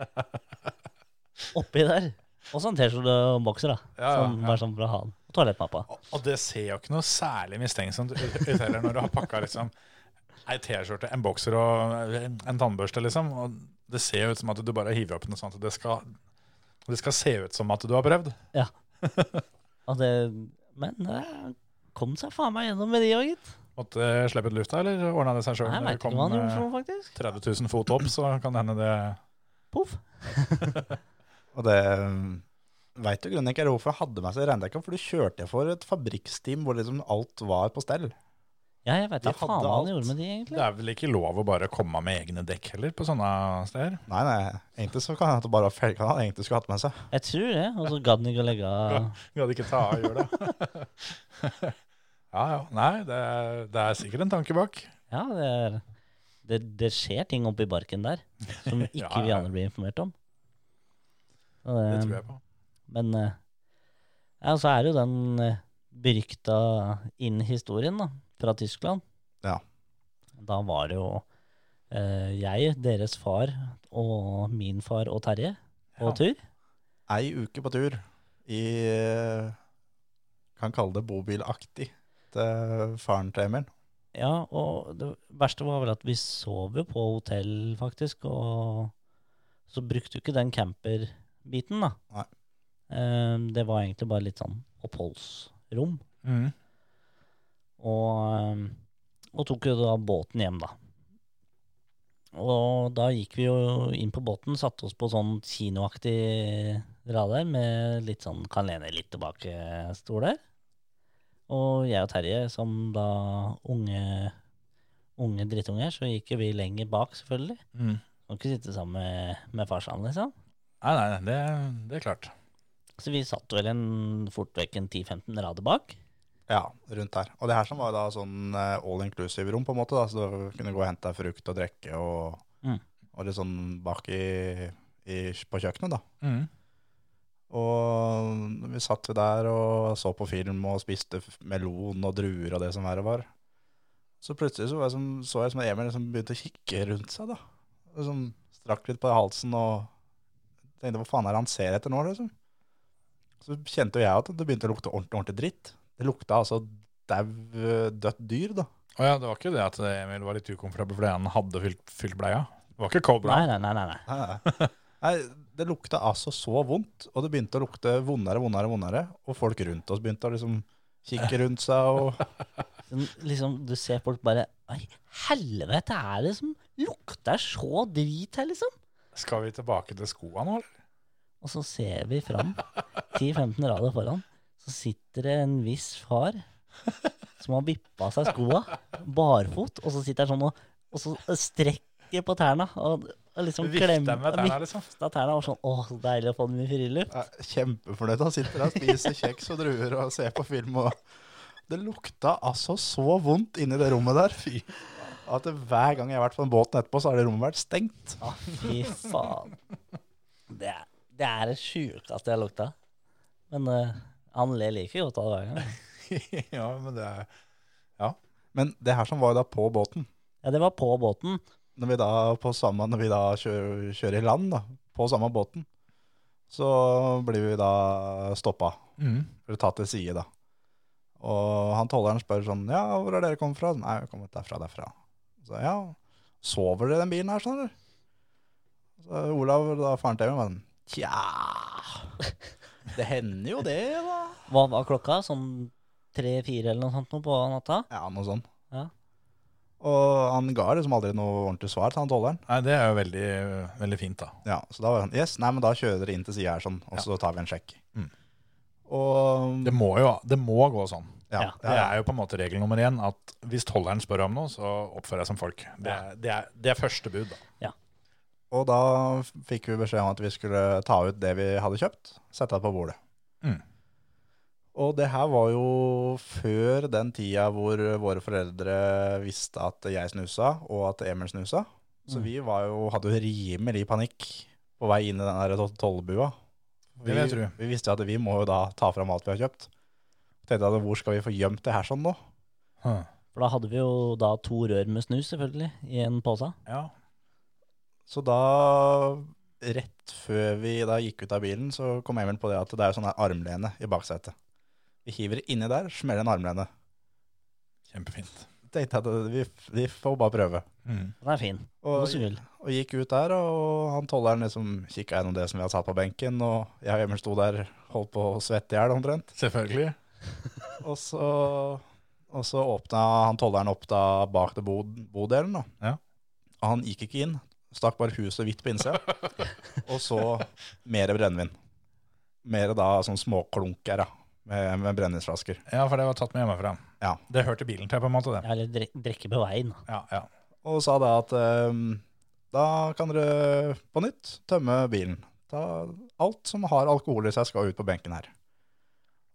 D: Oppi der. Og så en T-skjorte og bokser, da.
A: Ja, ja,
D: som
A: ja.
D: var sånn fra han. Og toalettmappa.
A: Og- Og det ser jo ikke noe særlig mistenksomt ut ut heller, når du har pakka liksom ei T-skjorte, en bokser og en en tannbørste, liksom. Og det ser jo ut som at du bare hiver opp noe sånt. og Det skal, det skal se ut som at du har prøvd.
D: Og det, men det kom seg faen meg gjennom med de òg, gitt.
A: Måtte eh, slippe ut lufta, eller ordna det eh, seg sjøl?
D: Jeg veit ikke hva han gjorde for noe, faktisk.
A: 30 000 fot opp, så kan det hende det
D: Poff.
E: Og det veit du grunnen ikke hvorfor jeg hadde med seg reindekka, for du kjørte jeg for et fabrikksteam hvor liksom alt var på stell.
D: Ja, jeg veit
E: De
D: ikke faen
E: hadde
D: hva han
E: alt.
D: gjorde med de,
A: Det
D: egentlig.
A: er vel ikke lov å bare komme med egne dekk heller, på sånne steder?
E: Nei, nei, egentlig så kan jeg at det bare var felga han egentlig skulle hatt med seg.
D: Jeg tror det. Og så gadd han ikke å legge av
A: Gadd ikke ta av hjulet. Ja, ja. Nei, det er, det er sikkert en tanke bak.
D: Ja, det, er- det, det skjer ting oppi barken der som ikke
A: Ja,
D: vi
A: ja.
D: andre blir informert om. Og eh,
A: Det tror jeg på.
D: Men eh, ja, så er det jo den eh, berykta inn-historien da, fra Tyskland.
E: Ja.
D: Da var det jo eh, jeg, deres far og min far og Terje på
A: Ja.
D: tur.
E: Ei uke på tur i Kan kalle det bobilaktig til faren til Emil.
D: Ja, og det verste var vel at vi sov jo på hotell, faktisk, og så brukte jo ikke den camperbiten, da.
E: Nei.
D: Eh, det var egentlig bare litt sånn oppholdsrom.
A: Mm.
D: Og, eh, og tok jo da båten hjem, da. Og da gikk vi jo inn på båten, satte oss på sånn kinoaktig radar med litt sånn kan lene litt tilbake-stol der. Og jeg og Terje, som da unge, unge drittunger, så gikk jo vi lenger bak, selvfølgelig.
A: Mm.
D: Kan ikke sitte sammen med, med farsan, liksom.
A: Nei, nei, nei, det, det er klart.
D: Så vi satt vel en, fort vekk en 10-15 rader bak.
E: Ja, rundt der. Og det her som var da sånn eh, all inclusive-rom, på en måte, da, så du kunne gå og hente deg frukt og drikke og,
D: Mm.
E: og litt sånn bak i, i, på kjøkkenet, da.
A: Mm.
E: Og vi satt jo der og så på film og spiste f- melon og druer og det som verre var. Så plutselig så, var jeg som, så jeg som Emil liksom begynte å kikke rundt seg, da. Liksom strakk litt på halsen og tenkte hva faen er det han ser etter nå, liksom. Så kjente jo jeg at det begynte å lukte ordentlig, ordentlig dritt. Det lukta altså dau, eh, dødt dyr, da.
A: Å ja, det var ikke det at Emil var litt ukomfortabel fordi han hadde fylt, fylt bleia? Det var ikke cold
D: Nei,
A: blood?
D: nei, nei. nei, nei.
E: Nei, nei. Nei, det lukta altså så vondt, og det begynte å lukte vondere, vondere, vondere. Og folk rundt oss begynte å liksom kikke rundt seg og
D: Den, liksom, du ser folk bare Oi, helvete er det som lukter så drit her, liksom?
A: Skal vi tilbake til skoa nå, eller?
D: Og så ser vi fram, 10-15 rader foran, så sitter det en viss far Som har vippa av seg skoa, barfot, og så sitter han sånn og, og så strekker på tærne. Og, og liksom
A: Vifter
D: klemmer
A: med tærne, liksom.
D: Vifta tærne og sånn Å, så deilig å få den i friluft.
E: Jeg er kjempefornøyd. Han sitter der og spiser kjeks og druer og ser på film. Og det lukta altså så vondt inni det rommet der. Fy. At det, hver gang jeg har vært på den båten etterpå, så har det rommet vært stengt.
D: Å, fy faen. Det er det, er det sjukeste jeg har lukta. Men eh, han ler like godt av det hver gang.
E: ja, men det er Ja. Men det her som var jo da på båten,
D: Ja, det var på båten.
E: når vi da, på samme, når vi da kjører, kjører i land da, på samme båten, så blir vi da stoppa.
A: Mm.
E: Eller tatt til side, da. Og han tolleren spør sånn Ja, hvor er dere kommet fra? Nei, vi har kommet derfra, derfra. Så ja, sover dere i den bilen her, skjønner du? Så Olav, da faren til meg, men Tja Det hender jo det, da.
D: Hva var klokka? Sånn tre-fire eller noe sånt nå på natta?
E: Ja, noe sånt.
D: Ja.
E: Og han ga liksom aldri noe ordentlig svar til han tolleren.
A: Nei, det er jo veldig, veldig fint, da.
E: Ja, så da var han Yes, nei, men da kjører dere inn til sida her, sånn, og så tar vi en sjekk.
A: Mm.
E: Og
A: Det må jo det må gå sånn.
E: ja,
A: Det er jo på en måte regel nummer én at hvis tolleren spør om noe, så oppfører jeg som folk. Det er, det er, det er første bud, da.
E: Og da f- fikk vi beskjed om at vi skulle ta ut det vi hadde kjøpt, sette det på bordet.
A: Mm.
E: Og det her var jo før den tida hvor våre foreldre visste at jeg snusa, og at Emil snusa.
A: Mm.
E: Så vi var jo, hadde jo rimelig panikk på vei inn i den der to- tollbua.
A: Det
E: Vi,
A: vil jeg tro.
E: vi visste jo at vi må jo da ta fram alt vi har kjøpt. Tenkte jeg, hvor skal vi få gjemt det her sånn nå?
D: For da hadde vi jo da to rør med snus, selvfølgelig, i en pose.
A: Ja.
E: Så da, rett før vi da gikk ut av bilen, så kom Emil på det at det er jo sånn her armlene i baksetet. Vi hiver det inni der, smeller en armlene.
A: Kjempefint.
E: Tenkte jeg at vi, vi får bare prøve.
A: Mm.
D: Den er fin.
E: Og,
D: Noe sugel.
E: og gikk ut der, og han tolleren liksom kikka gjennom det som vi hadde satt på benken, og jeg og Emil sto der, holdt på å svette i hjel omtrent.
A: Selvfølgelig.
E: Og så, og så åpna han tolleren opp da bak til bod, bodelen, da.
A: Ja.
E: Og han gikk ikke inn. Stakk bare huset hvitt på innsida. og så mer brennevin. Mer da sånn småklunker da, med, med brennevinsflasker.
A: Ja, for det var tatt med hjemmefra.
E: Ja.
A: Det hørte bilen til, på en måte, det.
D: Ja, eller dre- drikke på veien.
A: Ja, ja.
E: Og sa da at ehm, da kan dere på nytt tømme bilen. Ta alt som har alkohol i seg skal ut på benken her.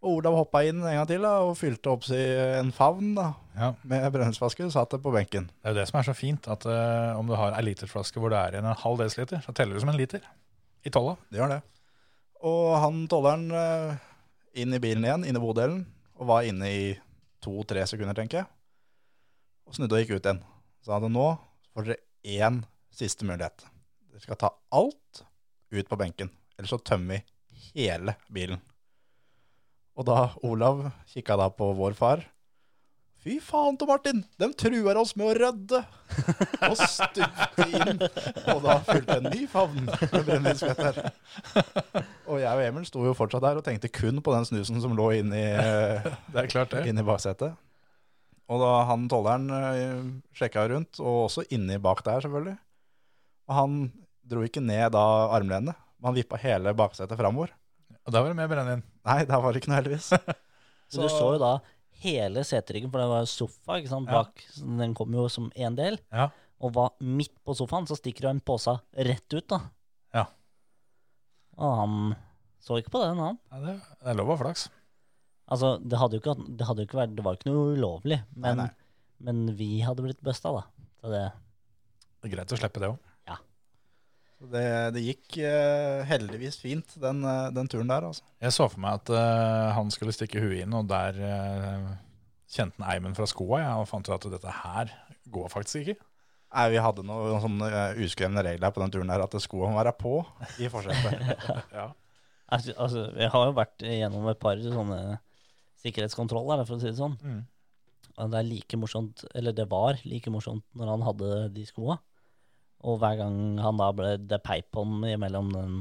E: Og Olav hoppa inn en gang til da, og fylte opp si en favn da,
A: ja.
E: med brennevinsflasker og satte på benken.
A: Det er jo det som er så fint, at eh, om du har ei literflaske hvor det er igjen en halv desiliter, så teller det som en liter. I tolla.
E: Det gjør det. Og han tolleren eh, inn i bilen igjen, inn i bodelen, og var inne i to-tre sekunder, tenker jeg. Og snudde og gikk ut igjen. Sa at nå får dere én siste mulighet. Dere skal ta alt ut på benken, ellers så tømmer vi hele bilen. Og da Olav kikka da på vår far. Fy faen, Tom Martin! De truer oss med å rødde! Og stupte inn. Og da fulgte en ny favn med brennevinsfletter. Og jeg og Emil sto jo fortsatt der og tenkte kun på den snusen som lå inni,
A: Det er klart,
E: inni baksetet. Og da han tolleren eh, sjekka rundt, og også inni bak der selvfølgelig. Og han dro ikke ned da armlenet, men han vippa hele baksetet framover.
A: Og der var det mer brennevin.
E: Nei, der var det ikke noe heldigvis.
D: Så du så jo da hele seteryggen, for det var jo sofa ikke sant,
A: Ja.
D: bak. Så den kom jo som en del.
A: Ja.
D: Og var midt på sofaen, så stikker du en pose rett ut, da.
A: Ja.
D: Og han så ikke på den, han.
A: Ja, det, det er lov å ha flaks.
D: Altså, det hadde jo ikke, hatt- det hadde jo ikke vært Det var ikke noe ulovlig, men,
E: nei.
D: men vi hadde blitt busta, da. Så det
A: Det er greit å slippe det òg.
E: Det, det gikk eh, heldigvis fint, den, eh, den turen der, altså.
A: Jeg så for meg at eh, han skulle stikke huet inn, og der eh, kjente han eimen fra skoa, ja, og fant ut at dette her går faktisk ikke.
E: Nei, Vi hadde noen sånne eh, uskrevne regler på den turen der, at skoene må være på i forsetet.
D: Altså, altså, jeg har jo vært gjennom et par sånne sikkerhetskontroller, da, for å si det sånn.
A: Mm.
D: Og det er like morsomt, eller det var like morsomt når han hadde de skoa. Og hver gang han da ble det peip på han imellom den,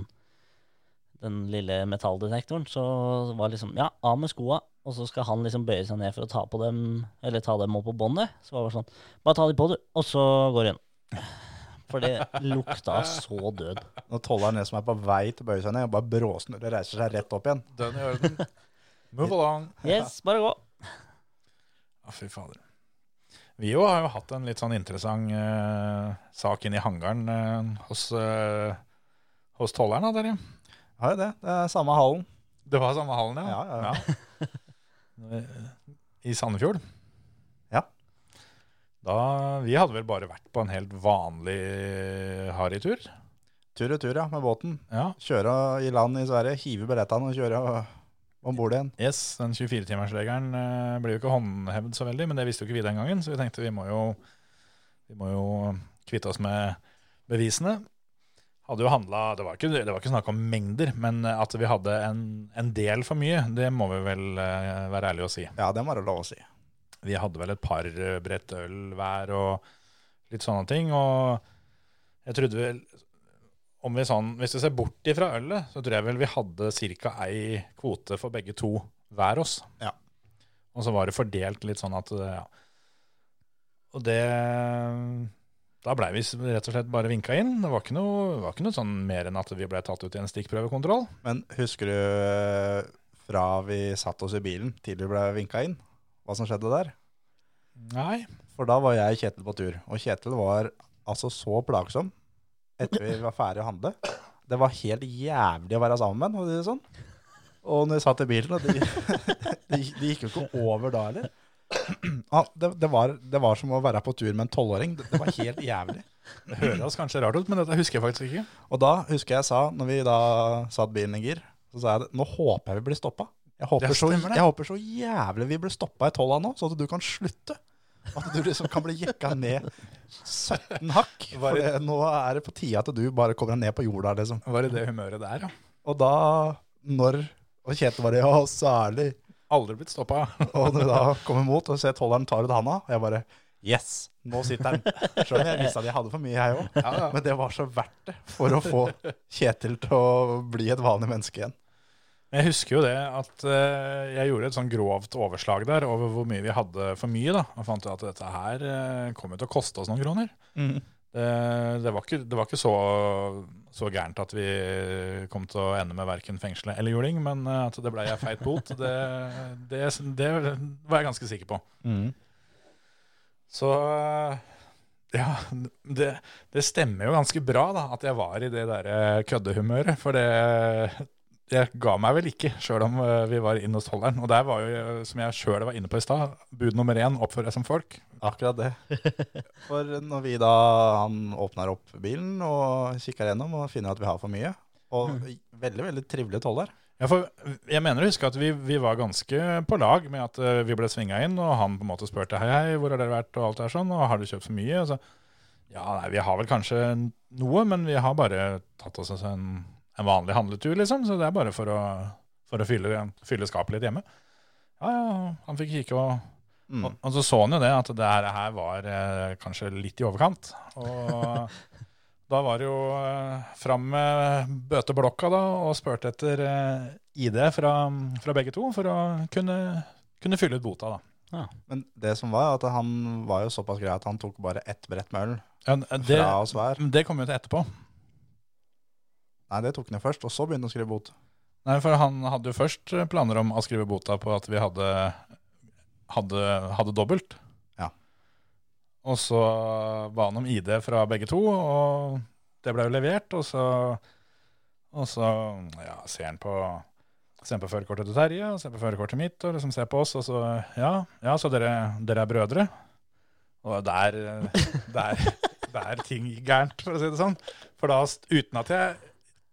D: den lille metalldetektoren, så var det liksom Ja, av med skoa. Og så skal han liksom bøye seg ned for å ta på dem, eller ta dem opp på båndet. Så var det sånn Bare ta de på, du, og så går du inn. For det lukta så død.
E: Når tolleren liksom er som er på vei til å bøye seg ned, og bare bråsnurrer og reiser seg rett opp igjen.
A: Dønn i orden. Move along.
D: Yes, bare gå.
A: Å, fy fader. Vi jo har jo hatt en litt sånn interessant eh, sak inne i hangaren eh, hos, eh, hos tolleren. da, dere.
E: Har jo det. Det er samme hallen.
A: Det var samme hallen, ja.
E: Ja, ja,
A: Ja. Eh, I Sandefjord.
E: Ja.
A: Da, vi hadde vel bare vært på en helt vanlig eh, harrytur.
E: Tur og tur, ja, med båten.
A: Ja.
E: Kjøre i land i Sverige, hive billettene og kjøre om bord igjen.
A: Yes, den 24-timersregelen eh, ble jo ikke håndhevd så veldig, men det visste jo ikke vi den gangen, så vi tenkte vi må jo, vi må jo eh, kvitte oss med bevisene. Hadde jo handlet, det var, ikke, det var ikke snakk om mengder, men eh, at vi hadde en, en del for mye, det må vi vel eh, være ærlige og si.
E: Ja, det må det være lov å si.
A: Vi hadde vel et par eh, brett øl hver og litt sånne ting. Og jeg trodde vel om vi sånn, Hvis vi ser bort ifra ølet, så tror jeg vel vi hadde ca. ei kvote for begge to hver oss.
E: Ja.
A: Og så var det fordelt litt sånn at eh, ja. Og det Da blei vi s- rett og slett bare vinka inn. Det var ikke noe, det var ikke noe sånn mer enn at vi blei tatt ut i en stikkprøvekontroll.
E: Men husker du eh, fra vi satt oss i bilen til vi ble vinka inn, hva som skjedde der?
A: Nei.
E: For da var jeg og Kjetil på tur, og Kjetil var altså så plagsom etter vi var ferdig å handle. Det var helt jævlig å være sammen med ham, for å si det sånn. Og når vi satt i bilen, og det, det, det gikk jo ikke over da heller. Ja, det, det, var, det var som å være på tur med en tolvåring. Det, det var helt jævlig.
A: Det høres kanskje rart ut, men dette husker jeg faktisk ikke.
E: Og da husker jeg jeg sa, når vi da satt bilen i gir, så sa jeg det, nå håper jeg vi blir stoppa. Jeg håper,
A: Ja,
E: så,
A: stemmer det.
E: jeg håper så jævlig vi blir stoppa i tolva nå, sånn at du kan slutte. At du liksom kan bli jekka ned 17 hakk. For det, nå er det på tide at du bare kommer deg ned på jorda, liksom.
A: Var det det humøret der, ja?
E: Og da, når Og Kjetil var det, ja, særlig.
A: Aldri blitt stoppa.
E: Og når vi da kommer mot og ser tolleren tar ut handa, og jeg bare Yes, nå sitter han. Selv om jeg visste at jeg hadde for mye, jeg òg.
A: Ja, ja.
E: Men det var så verdt det for å få Kjetil til å bli et vanlig menneske igjen.
A: Jeg husker jo det at eh, jeg gjorde et sånn grovt overslag der over hvor mye vi hadde for mye. da, Og fant ut at dette her eh, kom jo til å koste oss noen kroner. Det, det var ikke, det var ikke så, så gærent at vi kom til å ende med verken fengsle eller juling, men eh, at det blei ei feit bot, det, det, det var jeg ganske sikker på. Så eh, ja, det, det stemmer jo ganske bra da, at jeg var i det der eh, køddehumøret, for det, jeg ga meg vel ikke, sjøl om eh, vi var inne hos tolleren. Og der var jo, eh, som jeg sjøl var inne på i stad, bud nummer én, oppfør deg som folk.
E: Akkurat det. For når vi da han åpner opp bilen og kikker gjennom og finner at vi har for mye Og
A: Mm.
E: veldig, veldig trivelig toller.
A: Ja, for jeg mener å huske at vi, vi var ganske på lag med at eh, vi ble svinga inn, og han på en måte spurte hei, hei, hvor har dere vært, og alt det her sånn, og har du kjøpt for mye? Og så, ja, nei, vi har vel kanskje noe, men vi har bare tatt oss en, en vanlig handletur, liksom, så det er bare for å, for å fylle, fylle skapet litt hjemme. Ja, ja, han fikk kikke, og,
E: Mm.
A: og, og så så han jo det, at det her, her var eh, kanskje litt i overkant, og... Da var det jo eh, fram med bøteblokka da, og spurte etter eh, ID fra, fra begge to for å kunne, kunne fylle ut bota. da.
E: Men det som var, at han var jo såpass grei at han tok bare ett brett med øl
A: Ja, n- det,
E: fra oss hver.
A: det kom jo til etterpå.
E: Nei, det tok han jo først, og så begynte han å skrive bot.
A: Nei, for Han hadde jo først eh, planer om å skrive bota på at vi hadde, hadde, hadde dobbelt.
E: Ja.
A: Og så ba han om ID fra begge to, og det ble jo levert. Og så, og så ja, ser han på, ser han på førerkortet til Terje og ser på førerkortet mitt og liksom ser på oss, og så Ja, ja så dere, dere er brødre? Og der, eh, der, der ting gikk gærent, for å si det sånn. For da, uten at jeg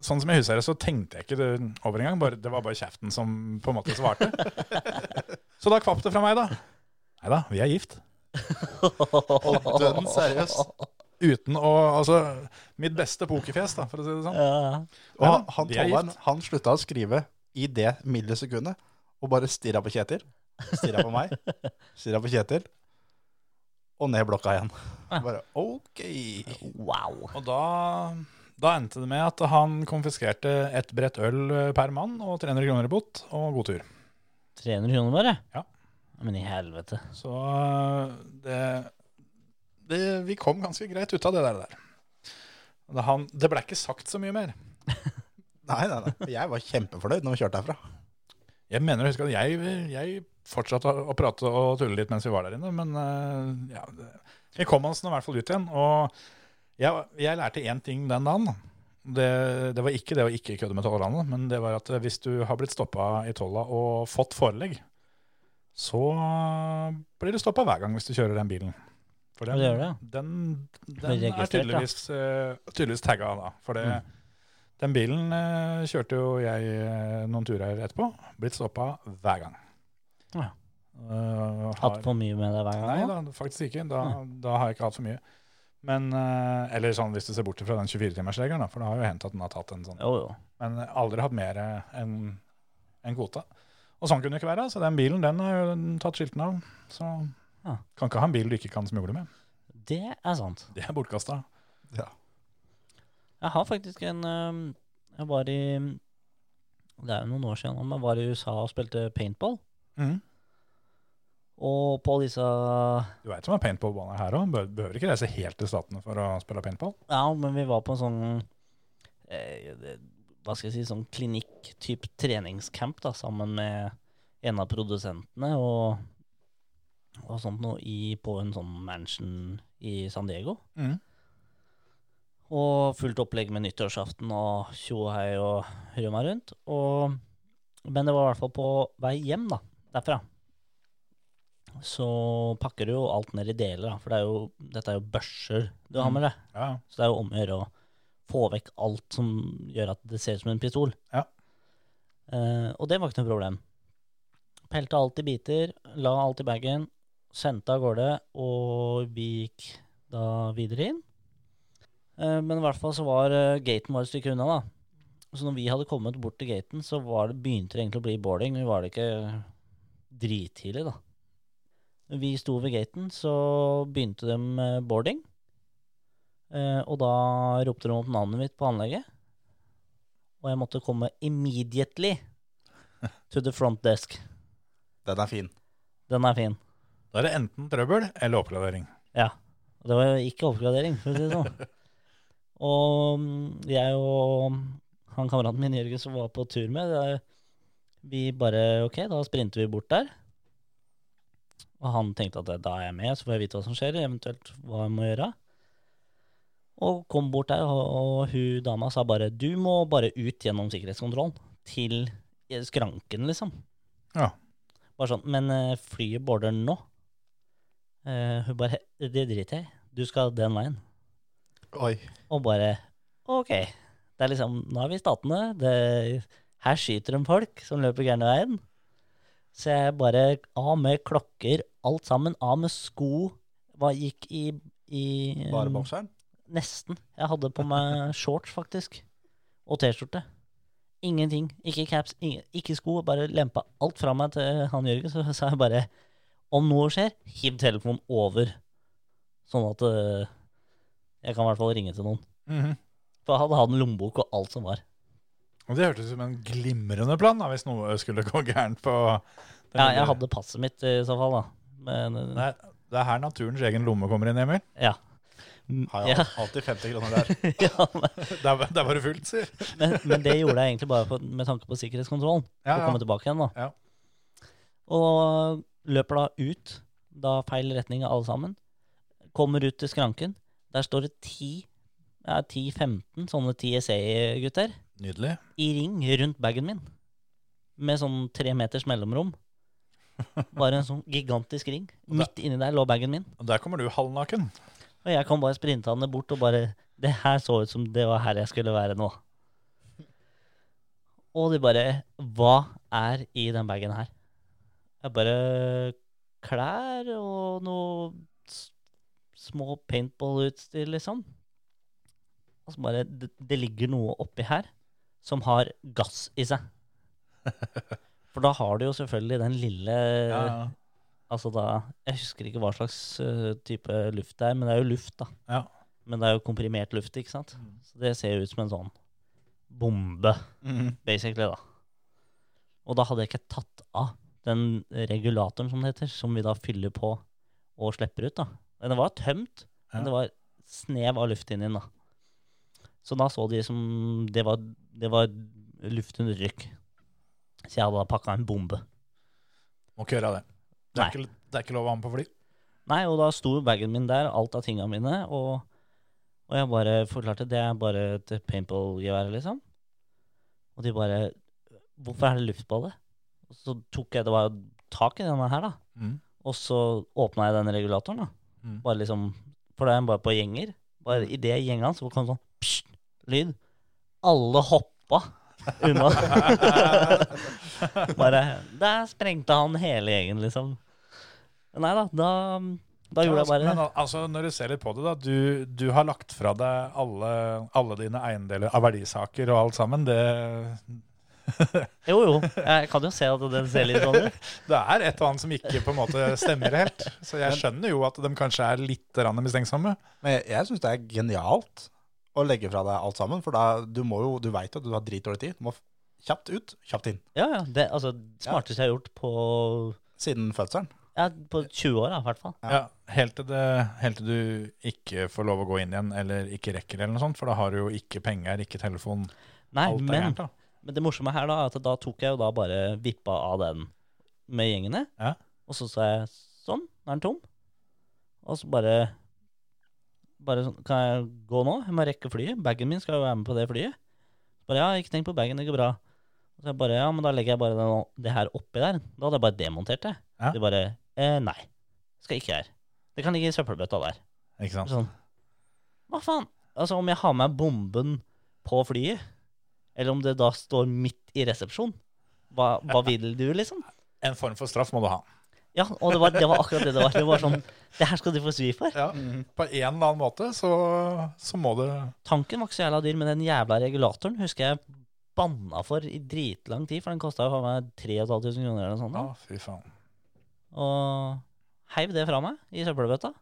A: sånn som jeg husker det, så tenkte jeg ikke det over engang. Bare, det var bare kjeften som på en måte svarte. så da kvapp det fra meg, da. Nei da, vi er gift.
E: Dønn seriøst.
A: Uten å Altså, mitt beste pokerfjes, da, for å si det sånn.
D: Ja,
E: Og
A: Ja,
E: han, han,
A: de er
E: tolleren,
A: gift.
E: han slutta å skrive i det millisekundet, og bare stirra på Kjetil. Stirra på meg, stirra på Kjetil, og ned i blokka igjen.
A: Ah.
E: Bare OK.
D: wow.
A: Og da, da endte det med at han konfiskerte et brett øl per mann og 300 kroner i bot og god tur.
D: 300 kroner bare?
A: Ja.
D: Men i helvete.
A: Så det, det Vi kom ganske greit ut av det der. der. Det, han, det ble ikke sagt så mye mer.
E: Nei, nei, nei. Jeg var kjempefornøyd når vi kjørte herfra.
A: Jeg mener å huske at jeg, jeg fortsatte å å prate og tulle litt mens vi var der inne, men eh, ja, det- vi kom oss nå i hvert fall ut igjen. Og jeg, jeg lærte én ting den dagen. da. Det, det var ikke det å ikke kødde med tollerne, men det var at eh, hvis du har blitt stoppa i tolla og fått forelegg, så blir du stoppa hver gang hvis du kjører den bilen. For den,
D: Ja, det gjør
A: den, den
D: Blir
A: er
D: registrert, ja. Mm.
A: tydeligvis, eh, tydeligvis tagga da. For det, den bilen eh, kjørte jo jeg eh, noen turer etterpå. Blitt stoppa hver gang.
D: Ja.
A: Eh,
D: Hatt
A: har,
D: for Mm. mye med deg hver gang?
A: nei
D: da?
A: da, faktisk ikke. Da, da har jeg ikke hatt for mye. Men, eh, eller sånn hvis du ser bort fra den 24-timersregelen, da, for det har jo hendt at den har tatt en sånn.
D: Jo, jo.
A: Men aldri hatt mer eh, enn enn kvota. Og sånn kunne det ikke være. Så den bilen den har jo den tatt skilten av. Så
D: Ja.
A: kan ikke ha en bil du ikke kan smugle med.
D: Det er sant.
A: Det er bortkasta.
D: Jeg har faktisk en øhm, Jeg var i Det er jo noen år siden, nå, men jeg var i USA og spilte paintball.
A: Mm.
D: Og på disse Ja,
A: Du veit som er paintballbane her òg. Behøver ikke reise helt til Statene for å spille paintball.
D: men vi var på en sånn eh, det- Hva skal jeg si, sånn klinikk typ treningscamp da, sammen med en av produsentene og, og sånt noe i, på en sånn mansion i San Diego. Og fullt opplegg med nyttårsaften og tjo og hei og hurra meg rundt. Og, men det var i hvert fall på vei hjem da, derfra. Så pakker du jo alt ned i deler, da, for det er jo, dette er jo børser du har med deg.
A: Ja, ja.
D: Så det er jo om å gjøre å få vekk alt som gjør at det ser ut som en pistol.
A: Ja.
D: Eh, og det var ikke noe problem. Pelta alt i biter, la alt i bagen, sendte av gårde, og vi gikk da videre inn. Eh, men i hvert fall så var eh, gaten var et stykke unna, da. Så når vi hadde kommet bort til gaten, så var det, begynte det egentlig å bli boarding. Vi var det ikke drittidlig, da. Når vi sto ved gaten, så begynte de med boarding. Eh, og da ropte de opp navnet mitt på anlegget. Og jeg måtte komme immediately to the front desk.
E: Den er fin.
D: Den er fin.
A: Da er det enten trøbbel eller oppgradering.
D: Ja. Og det var jo ikke oppgradering, for å si det sånn. Og mm, jeg og han kameraten min Jørgen som var på tur med, det, vi bare Ok, da sprinter vi bort der. Og han tenkte at da er jeg med, så får jeg vite hva som skjer, eventuelt hva jeg må gjøre. Og kom bort der, og, og hun dama sa bare du må bare ut gjennom sikkerhetskontrollen. Til skranken, liksom.
A: Ja.
D: Bare sånn, men eh, flyet border nå. Eh, hun bare, det driter jeg. i. Du skal den veien.
E: Oi.
D: Og bare, ok. Det er liksom, nå er vi i statene. Det, her skyter de folk som løper gærne veien. Så jeg bare, av med klokker, alt sammen, av med sko. Hva gikk i... i
E: Bare bokseren?
D: Nesten. Jeg hadde på meg shorts, faktisk. Og T-skjorte. Ingenting. Ikke caps, ingen, ikke sko. Bare lempa alt fra meg til han Jørgen. Så sa jeg bare om noe skjer, hiv telefonen over. Sånn at eh, jeg kan i hvert fall ringe til noen. For jeg hadde hatt en lommebok og alt som var.
A: Og Det hørtes ut som en glimrende plan da, hvis noe skulle gå gærent på den
D: Ja,
A: lille-
D: jeg hadde passet mitt eh, i så fall, da. Men, eh,
A: Nei, Det er her naturens egen lomme kommer inn, Emil.
D: ja.
E: Har
D: Ja.
E: jeg alltid 50 kroner der.
D: ja, men,
A: Der, var- der var det fullt, sier
D: men, men det gjorde jeg egentlig bare for, med tanke på sikkerhetskontrollen.
A: Ja,
D: og
A: ja.
D: komme tilbake igjen. da.
A: Ja.
D: Og løper da ut, da feil retning alle sammen. Kommer ut til skranken. Der står det 10, ja, 10-15 sånne TSA-gutter
A: Nydelig.
D: i ring rundt bagen min. Med sånn tre meters mellomrom. Bare en sånn gigantisk ring. Midt inni der lå bagen min.
A: Og der kommer du halvnaken.
D: Og jeg kom bare sprintende bort og bare Det her så ut som det var her jeg skulle være nå. Og de bare Hva er i den bagen her? Jeg bare Klær og noe s- små paintballutstyr, liksom. Og så bare det, det ligger noe oppi her som har gass i seg. For da har du jo selvfølgelig den lille
A: Ja,
D: Altså da, Jeg husker ikke hva slags ø, type luft det er, men det er jo luft, da.
A: Ja. Mm.
D: Men det er jo komprimert luft, ikke sant? Så det ser jo ut som en sånn bombe,
E: Mm.
A: Mhm.
D: basically, da. Og da hadde jeg ikke tatt av den regulatoren, som det heter, som vi da fyller på og slipper ut, da. Men det var tømt,
A: Ja.
D: men det var snev av luft inni den, da. Så da så de som Det var, det var luftundertrykk. Så jeg hadde da pakka en bombe.
E: Må ikke gjøre det. Det
D: Nei.
E: er, ikke, det er ikke lov å ha med på fly.
D: Nei, og da sto bagen min der, alt av tinga mine, og, og jeg bare forklarte det er bare et paintball-gevær, liksom. Og de bare Hvorfor er det luftballe? Og så tok jeg det var jo tak i denne her, da.
E: Mhm.
D: Og så åpna jeg den regulatoren, da.
E: Mhm.
D: Bare liksom For da er den bare på gjenger. Bare i det gjengene så kom det sånn pssst, lyd. Alle hoppa unna. bare Der sprengte han hele gjengen, liksom. Nei da, da, da gjorde jeg bare
E: Men al- altså, når du ser litt på det, da. Du, du har lagt fra deg alle, alle dine eiendeler av verdisaker og alt sammen. Det,
D: Jo, jo. Jeg kan jo se at den ser litt sånn ut.
E: det er et og annet som ikke på en måte stemmer helt. Så jeg skjønner jo at de kanskje er litt grann mistenksomme. Men jeg, jeg syns det er genialt å legge fra deg alt sammen, for da, du, må jo, du vet jo at du har dritdårlig tid. Du må f- kjapt ut, kjapt inn.
D: Ja, ja. Det altså, smarteste jeg har gjort på
E: Siden fødselen.
D: ja, på 20 år, da, i hvert fall.
E: Ja.
A: Ja, helt til, det, helt til du ikke får lov å gå inn igjen, eller ikke rekker det, eller noe sånt, for da har du jo ikke penger, ikke telefon,
D: Nei,
A: alt er
D: men,
A: gærent, da.
D: men det morsomme her da, er at da tok jeg jo da bare vippa av den med gjengene.
A: Ja.
D: Og så sa jeg sånn, nå er den tom. Og så bare bare sånn, Kan jeg gå nå? Jeg må rekke flyet. Bagen min skal jo være med på det flyet. Bare ja, ikke tenk på bagen, det går bra. Og så jeg bare ja, men da legger jeg bare den, det her oppi der. Da hadde jeg bare demontert det.
A: Ja.
D: De bare eh, nei, skal ikke her. Det kan ligge i søppelbøtta der.
A: Ikke sant?
D: Sånn. Hva faen? Altså, om jeg har med bomben på flyet, eller om det da står midt i resepsjon, hva, hva vil du, liksom?
A: En form for straff må du ha.
D: Ja, og det var, det var akkurat det det var. Det var sånn, det her skal du få svi for.
E: Ja.
A: På en eller annen måte så, så må det
D: Tanken var ikke så jævla dyr, men den jævla regulatoren husker jeg banna for i dritlang tid, for den kosta jo faen meg 3500 kroner eller noe sånt.
A: Ja,
D: da.
A: fy faen.
D: Og heiv det fra meg i søppelbøtta.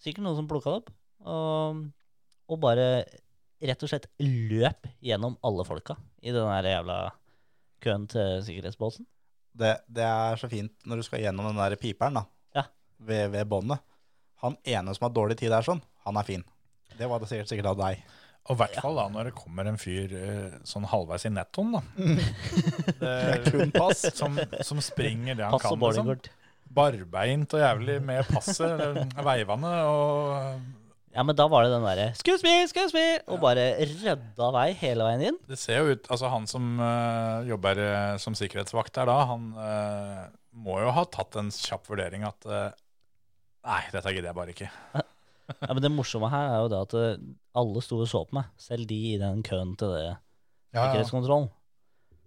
D: Sikkert noen som plukka det opp. Og, og bare rett og slett løp gjennom alle folka i den der jævla køen til sikkerhetsbåsen.
E: det, det er så fint når du skal gjennom den der piperen da,
D: Ja.
E: ved, ved båndet. Han ene som har dårlig tid der sånn, han er fin. Det var det sikkert, sikkert av deg.
A: Og i hvert fall da når det kommer en fyr eh, sånn halvveis i nettoen, da. Det,
E: Mm. Kun pass.
A: som, som springer det han
D: Pass
A: kan.
D: og
A: liksom.
D: boardingkort.
A: Barbeint og jævlig med passet, eller veivende og
D: Ja, men da var det den derre 'excuse me, excuse me', og bare rydda vei hele veien inn.
A: Det ser jo ut Altså, han som eh, jobber eh, som sikkerhetsvakt der da, han eh, må jo ha tatt en kjapp vurdering at eh, Nei, dette gidder jeg bare ikke.
D: Ja, Men det morsomme her er jo det at eh, alle sto og så på meg, selv de i den køen til det sikkerhetskontrollen.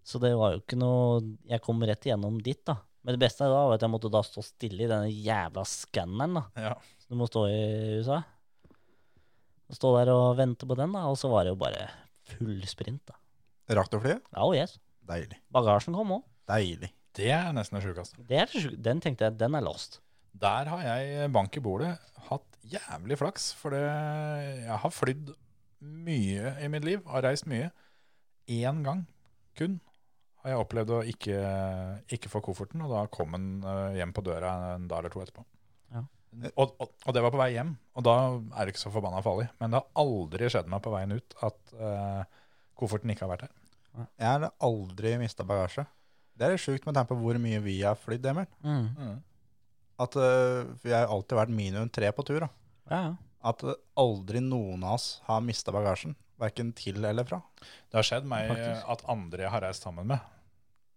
D: Så det var jo ikke noe Jeg kom rett igjennom dit, da. Men det beste da var at jeg måtte da stå stille i denne jævla skanneren, da.
A: Ja.
D: Så du må stå i USA. Og Stå der og vente på den, da. Og så var det jo bare full sprint, da.
E: Rakk du flyet?
D: Ja, oh yes.
E: Deilig.
D: Bagasjen kom òg.
E: Deilig.
A: Det er nesten det sjukeste.
D: Den tenkte jeg, den er lost.
A: Der har jeg bank i bordet hatt jævlig flaks, for det, jeg har flydd mye i mitt liv, har reist mye. Én gang kun har jeg opplevd å ikke, ikke få kofferten, og da kom den eh, hjem på døra en dag eller to etterpå.
D: Ja.
A: Og, og, og det var på vei hjem, og da er det ikke så forbanna farlig. Men det har aldri skjedd meg på veien ut at eh, kofferten ikke har vært der.
E: Jeg har aldri mistet bagasje. Det er litt sjukt med tanke på hvor mye vi har flytt, Emil.
D: Mm.
E: At øh, vi har alltid vært minimum tre på tur. Da.
D: Ja, ja.
E: At øh, aldri noen av oss har mistet bagasjen. Hverken til eller fra.
A: Det har skjedd meg
D: Faktisk.
A: eh, at andre jeg har reist sammen med.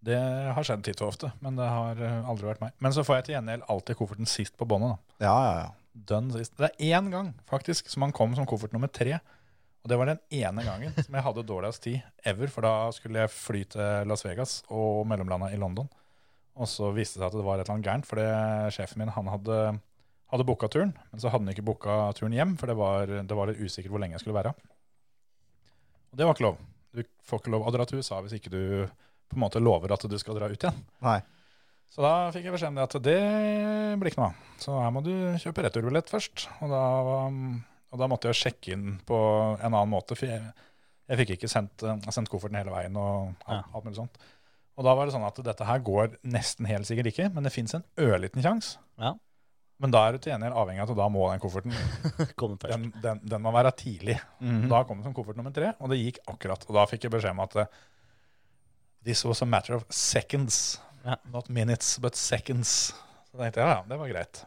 A: Det har skjedd titt og ofte, men det har eh, aldri vært meg. Men så får jeg til gjengjeld alltid kofferten sist på båndet. da.
E: Ja, ja, ja.
A: Dønn sist. Det er én gang faktisk som han kom som koffert nummer tre. Og det var den ene gangen som jeg hadde dårligst tid ever, for da skulle jeg fly til Las Vegas og mellomlanda i London. Og så viste det seg at det var et eller annet gærent, fordi sjefen min han hadde, hadde booka turen. Men så hadde han ikke booka turen hjem, for det var, det var litt usikkert hvor lenge jeg skulle være. Og det var ikke lov. Du får ikke lov å dra til USA hvis ikke du på en måte lover at du skal dra ut igjen.
E: Nei.
A: Så da fikk jeg beskjed om det at det blir ikke noe av. Så her må du kjøpe returbillett først. Og da, um, og da måtte jeg sjekke inn på en annen måte, for jeg, jeg fikk ikke sendt, eh, sendt kofferten hele veien og alt,
D: Ja.
A: alt mulig sånt. Og da var det sånn at dette her går nesten helt sikkert ikke, men det fins en ørliten sjanse.
D: Ja.
A: Men da er du til gjengjeld avhengig av at da må den kofferten
D: Kommer først.
A: den, den, den må være
D: Mhm.
A: tidlig. Da kom det som koffert nummer tre, og det gikk akkurat. Og da fikk jeg beskjed om at eh, This was a matter of seconds.
D: Ja.
A: Not minutes, but seconds. Så tenkte jeg ja, ja, det var greit.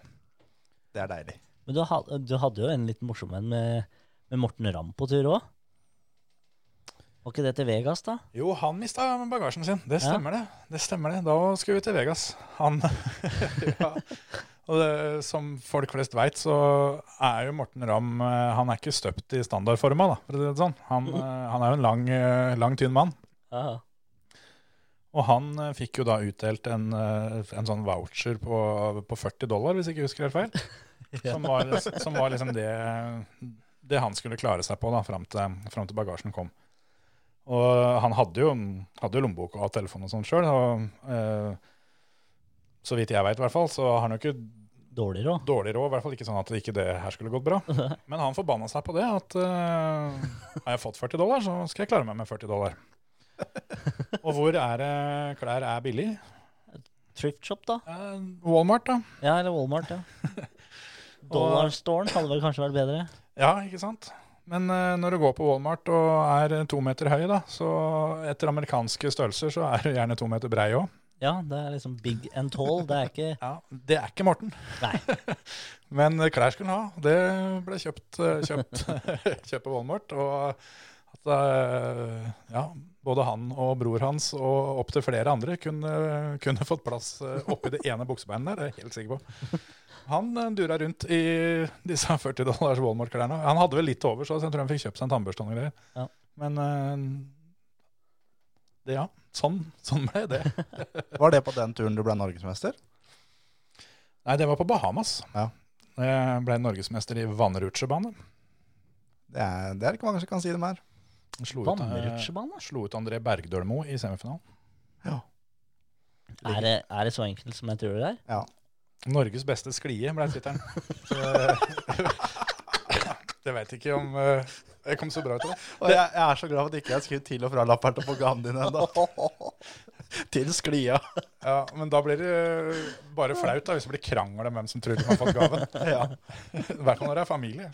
E: Det er deilig.
D: Men du, ha- du hadde jo en litt morsom en med, med Morten Ramm på tur òg. Var ikke det til Vegas, da?
A: Jo, han mista bagasjen sin. Det
D: Ja.
A: stemmer det. Det stemmer det. Da skulle vi til Vegas. Han ja. Og det, som folk flest veit, så er jo Morten Ramm eh, Han er ikke støpt i standardforma, da, for å si det sånn.
D: Mhm.
A: Han, eh, han er jo en lang, eh, lang tynn mann.
D: Ja.
A: Og han eh, fikk jo da utdelt en, eh, en sånn voucher på, på 40 dollar, hvis jeg ikke husker helt feil. Som var, som var liksom det, det han skulle klare seg på da, fram til, fram til bagasjen kom. Og han hadde jo, hadde jo lommebok og telefon og sånn sjøl. Og eh, så vidt jeg veit, i hvert fall, så har han jo ikke
D: Dårligere òg.
A: dårlig råd. I hvert fall ikke sånn at ikke det her skulle gått bra. Men han forbanna seg på det. At eh, har jeg fått 40 dollar, så skal jeg klare meg med 40 dollar. Og hvor er det klær er billig?
D: Thrift Shop, da?
A: Eh, Walmart, da.
D: Ja, eller Walmart, ja. Dollarstoren hadde vel kanskje vært bedre.
A: Ja, ikke sant? Men eh, når du går på Walmart og er eh, to meter høy, da, så etter amerikanske størrelser så er du gjerne to meter brei òg.
D: Ja, det er liksom big and tall. Det er ikke
A: Ja, det er ikke Morten.
D: Nei.
A: Men eh, klær skulle han ha. Det ble kjøpt, eh, kjøpt, kjøpt på Walmart. Og at eh, ja, både han og bror hans og opptil flere andre kunne, kunne fått plass eh, oppi det ene buksebeinet der, det er jeg helt sikker på. Han eh, dura rundt i disse 40 dollars Walmart-klærne. Han hadde vel litt til overs, så jeg tror han fikk kjøpt seg en tannbørste og noe greier.
D: Ja.
A: Men eh, det, ja, sånn, sånn ble det.
E: Var det på den turen du ble norgesmester?
A: Nei, det var på Bahamas.
E: Ja.
A: Jeg ble norgesmester i vannrutsjebane.
E: Det er, det er ikke mange som kan si dem her.
A: Slo ut, eh,
D: vannrutsjebane.
A: slo ut André Bergdølmo i semifinalen.
D: Er, det- er det så enkelt som jeg tror det er?
A: Norges beste sklie ble tittelen. Så- Jeg veit ikke om eh, jeg kom så bra ut av det.
E: Og jeg, jeg er så glad for at ikke jeg har skrevet til og fra Lapperta på ganen din ennå. Til sklia.
A: Ja, men da blir det eh, bare flaut da, hvis det blir krangel om hvem som tror de har fått gaven.
E: Ja.
A: I hvert fall når det er familie.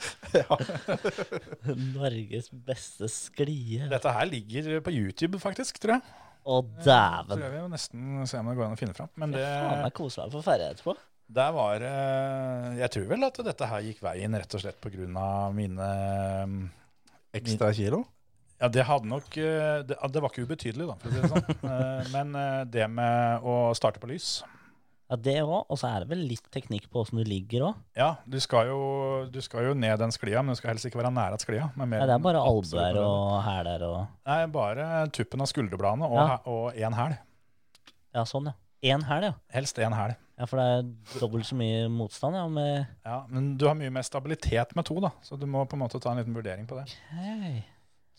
D: Norges beste sklie.
A: Dette her ligger på YouTube, faktisk, tror jeg.
D: Å,
A: Så
D: dæven.
A: jeg vil nesten se om det går an å finne fram. Men det,
D: Faen, jeg koser meg på ferja etterpå.
A: Der var eh, Jeg tror vel at dette her gikk veien rett og slett på grunn av mine mm,
E: Ekstra kilo?
A: Ja, det hadde nok eh, Det, det var ikke ubetydelig, da, for å si det sånn. Eh, Men eh, det med å starte på lys
D: Ja, det òg. Og så er det vel litt teknikk på åssen du ligger òg.
A: Ja, du skal jo, du skal jo ned den sklia, men du skal helst ikke være nær at sklia. men mer
D: Ja, det er
A: enn
D: bare
A: absolutt
D: albuer
A: nødvendig.
D: og hæler og
A: Nei, bare tuppen av skulderbladene og,
D: Ja.
A: he- og en hæl.
D: Ja, sånn, ja. Én hæl, ja.
A: Helst en hæl.
D: Ja, For det er dobbelt så mye motstand, ja. Med
A: Ja, men du har mye mer stabilitet med to, da, så du må på en måte ta en liten vurdering på det.
D: Hei.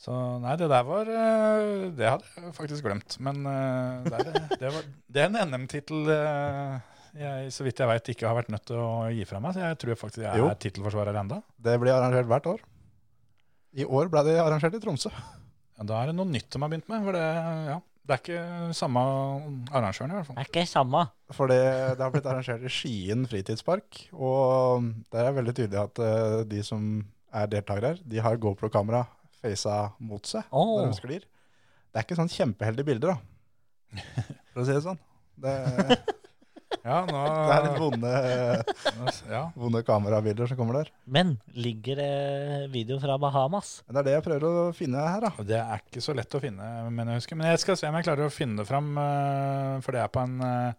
A: Så nei, det der var eh, Det hadde jeg faktisk glemt. Men eh, det, er, det, var, det er en NM-tittel eh, jeg så vidt jeg veit ikke har vært nødt til å gi fra meg. Så jeg tror faktisk jeg
E: Jo.
A: er tittelforsvarer enda.
E: Det blir arrangert hvert år. I år ble det arrangert i Tromsø.
A: Ja, Da er det noe nytt de har begynt med. For det, ja, det er ikke samme arrangøren, i hvert fall.
D: Det er ikke samme.
E: For det, det har blitt arrangert i Skien fritidspark, og der er det veldig tydelig at eh, de som er deltakere her, de har GoPro-kamera facet mot seg
D: Åh.
E: når de sklir. Det er ikke sånn kjempeheldige bilder, da. For å si det sånn. Det,
A: Ja, nå,
E: det er litt vonde,
A: ja.
E: vonde kamerabilder som kommer der.
D: Men ligger det video fra Bahamas?
E: Men det er det jeg prøver å finne her, da.
A: Og Det er ikke så lett å finne, men jeg husker. Men jeg skal se om jeg klarer å finne det fram, eh, for det er på en eh,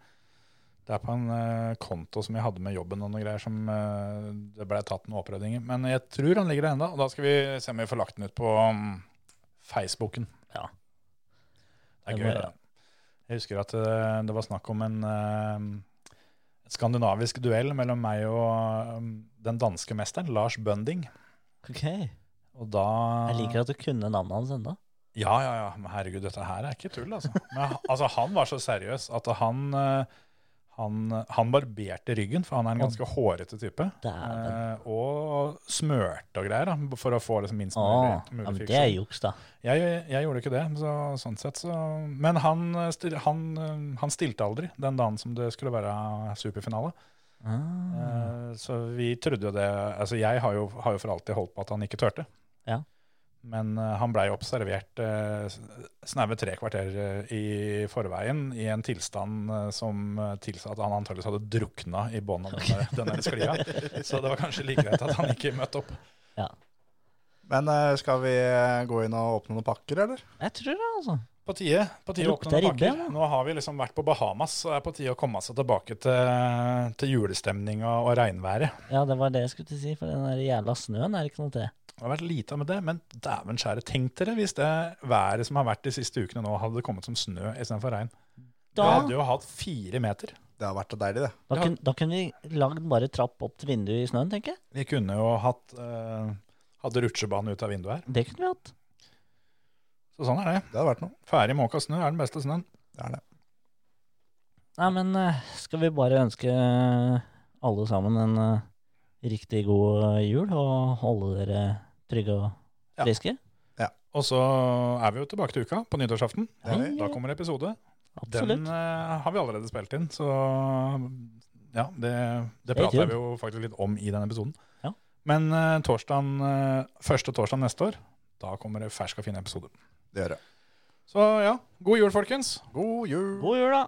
A: det er på en eh, konto som jeg hadde med jobben og noe greier som eh, det ble tatt noen opprydninger. Men jeg tror han ligger der ennå, og da skal vi se om vi får lagt den ut på um, Facebooken.
D: Ja.
A: Det er
D: Det
A: gøy.
D: må
A: Det. Jeg husker at eh, det var snakk om en eh, skandinavisk duell mellom meg og um, den danske mesteren, Lars Bønding.
D: Ok.
A: Og da
D: Jeg liker at du kunne navnet hans enda.
A: Ja, ja, ja. Men herregud, dette her er ikke tull, altså. Men, altså han var så seriøs at han, eh, han, han barberte ryggen, for han er en ganske hårete type.
D: Dæven.
A: Eh, og smørte og greier, da, for å få liksom minst
D: Åh,
A: mulig,
D: ja,
A: mulig
D: men det er
A: friksjon.
D: juks, da.
A: Jeg, jeg gjorde ikke det, så, sånn sett. Så. Men han, eh, stil, han, eh, han stilte aldri den dagen som det skulle være superfinale.
D: Ah.
A: Eh, Så vi trodde jo det Altså, jeg har jo, har jo for alltid holdt på at han ikke turte.
D: Ja.
A: Men eh, han blei observert eh, snaue tre kvarter eh, i forveien i en tilstand eh, som eh, tilsa at han antakeligvis hadde drukna i bånn av denne, denne sklia. Så det var kanskje like greit at han ikke møtte opp.
E: Men eh, skal vi eh, gå inn og åpne noen pakker, eller?
D: Jeg tror det, altså.
A: På tide, på tide å åpne
D: Lukter
A: noen
D: ribbe,
A: pakker. Nå har vi liksom vært på Bahamas, så det er på tide å komme seg tilbake til, til julestemninga og regnværet.
D: Ja, det var det jeg skulle til å si, for den der jævla snøen er ikke noe til.
A: Det har vært lite av med det, men dæven skjære, tenk dere hvis det været som har vært de siste ukene nå, hadde kommet som snø istedenfor regn. Vi
D: Da,
A: hadde jo hatt fire meter.
E: Det har vært deilig, det.
D: da, kun, da kunne vi lagd bare trapp opp til vinduet i snøen, tenker jeg.
A: Vi kunne jo hatt eh, hadde rutsjebane ut av vinduet her.
D: Det kunne vi hatt.
A: Så sånn er det.
E: Det hadde vært noe.
A: Ferdig måka snø er den beste snøen.
E: Det er det.
D: Nei, men eh, skal vi bare ønske eh, alle sammen en eh, riktig god eh, jul, og holde dere trygge og
A: Ja.
D: friske?
A: Og så er vi jo tilbake til uka, på nyttårsaften.
E: det er vi.
A: Da kommer episode.
D: Absolutt.
A: Den eh, har vi allerede spilt inn, så ja, det, det
D: Stay
A: prater
D: tuned.
A: vi jo faktisk litt om i denne episoden.
D: Ja.
A: Men eh, torsdagen, eh, første torsdag neste år, da kommer det fersk og fin episode.
E: Det gjør det.
A: Så ja, god jul, folkens.
E: God jul!
D: God jul, da!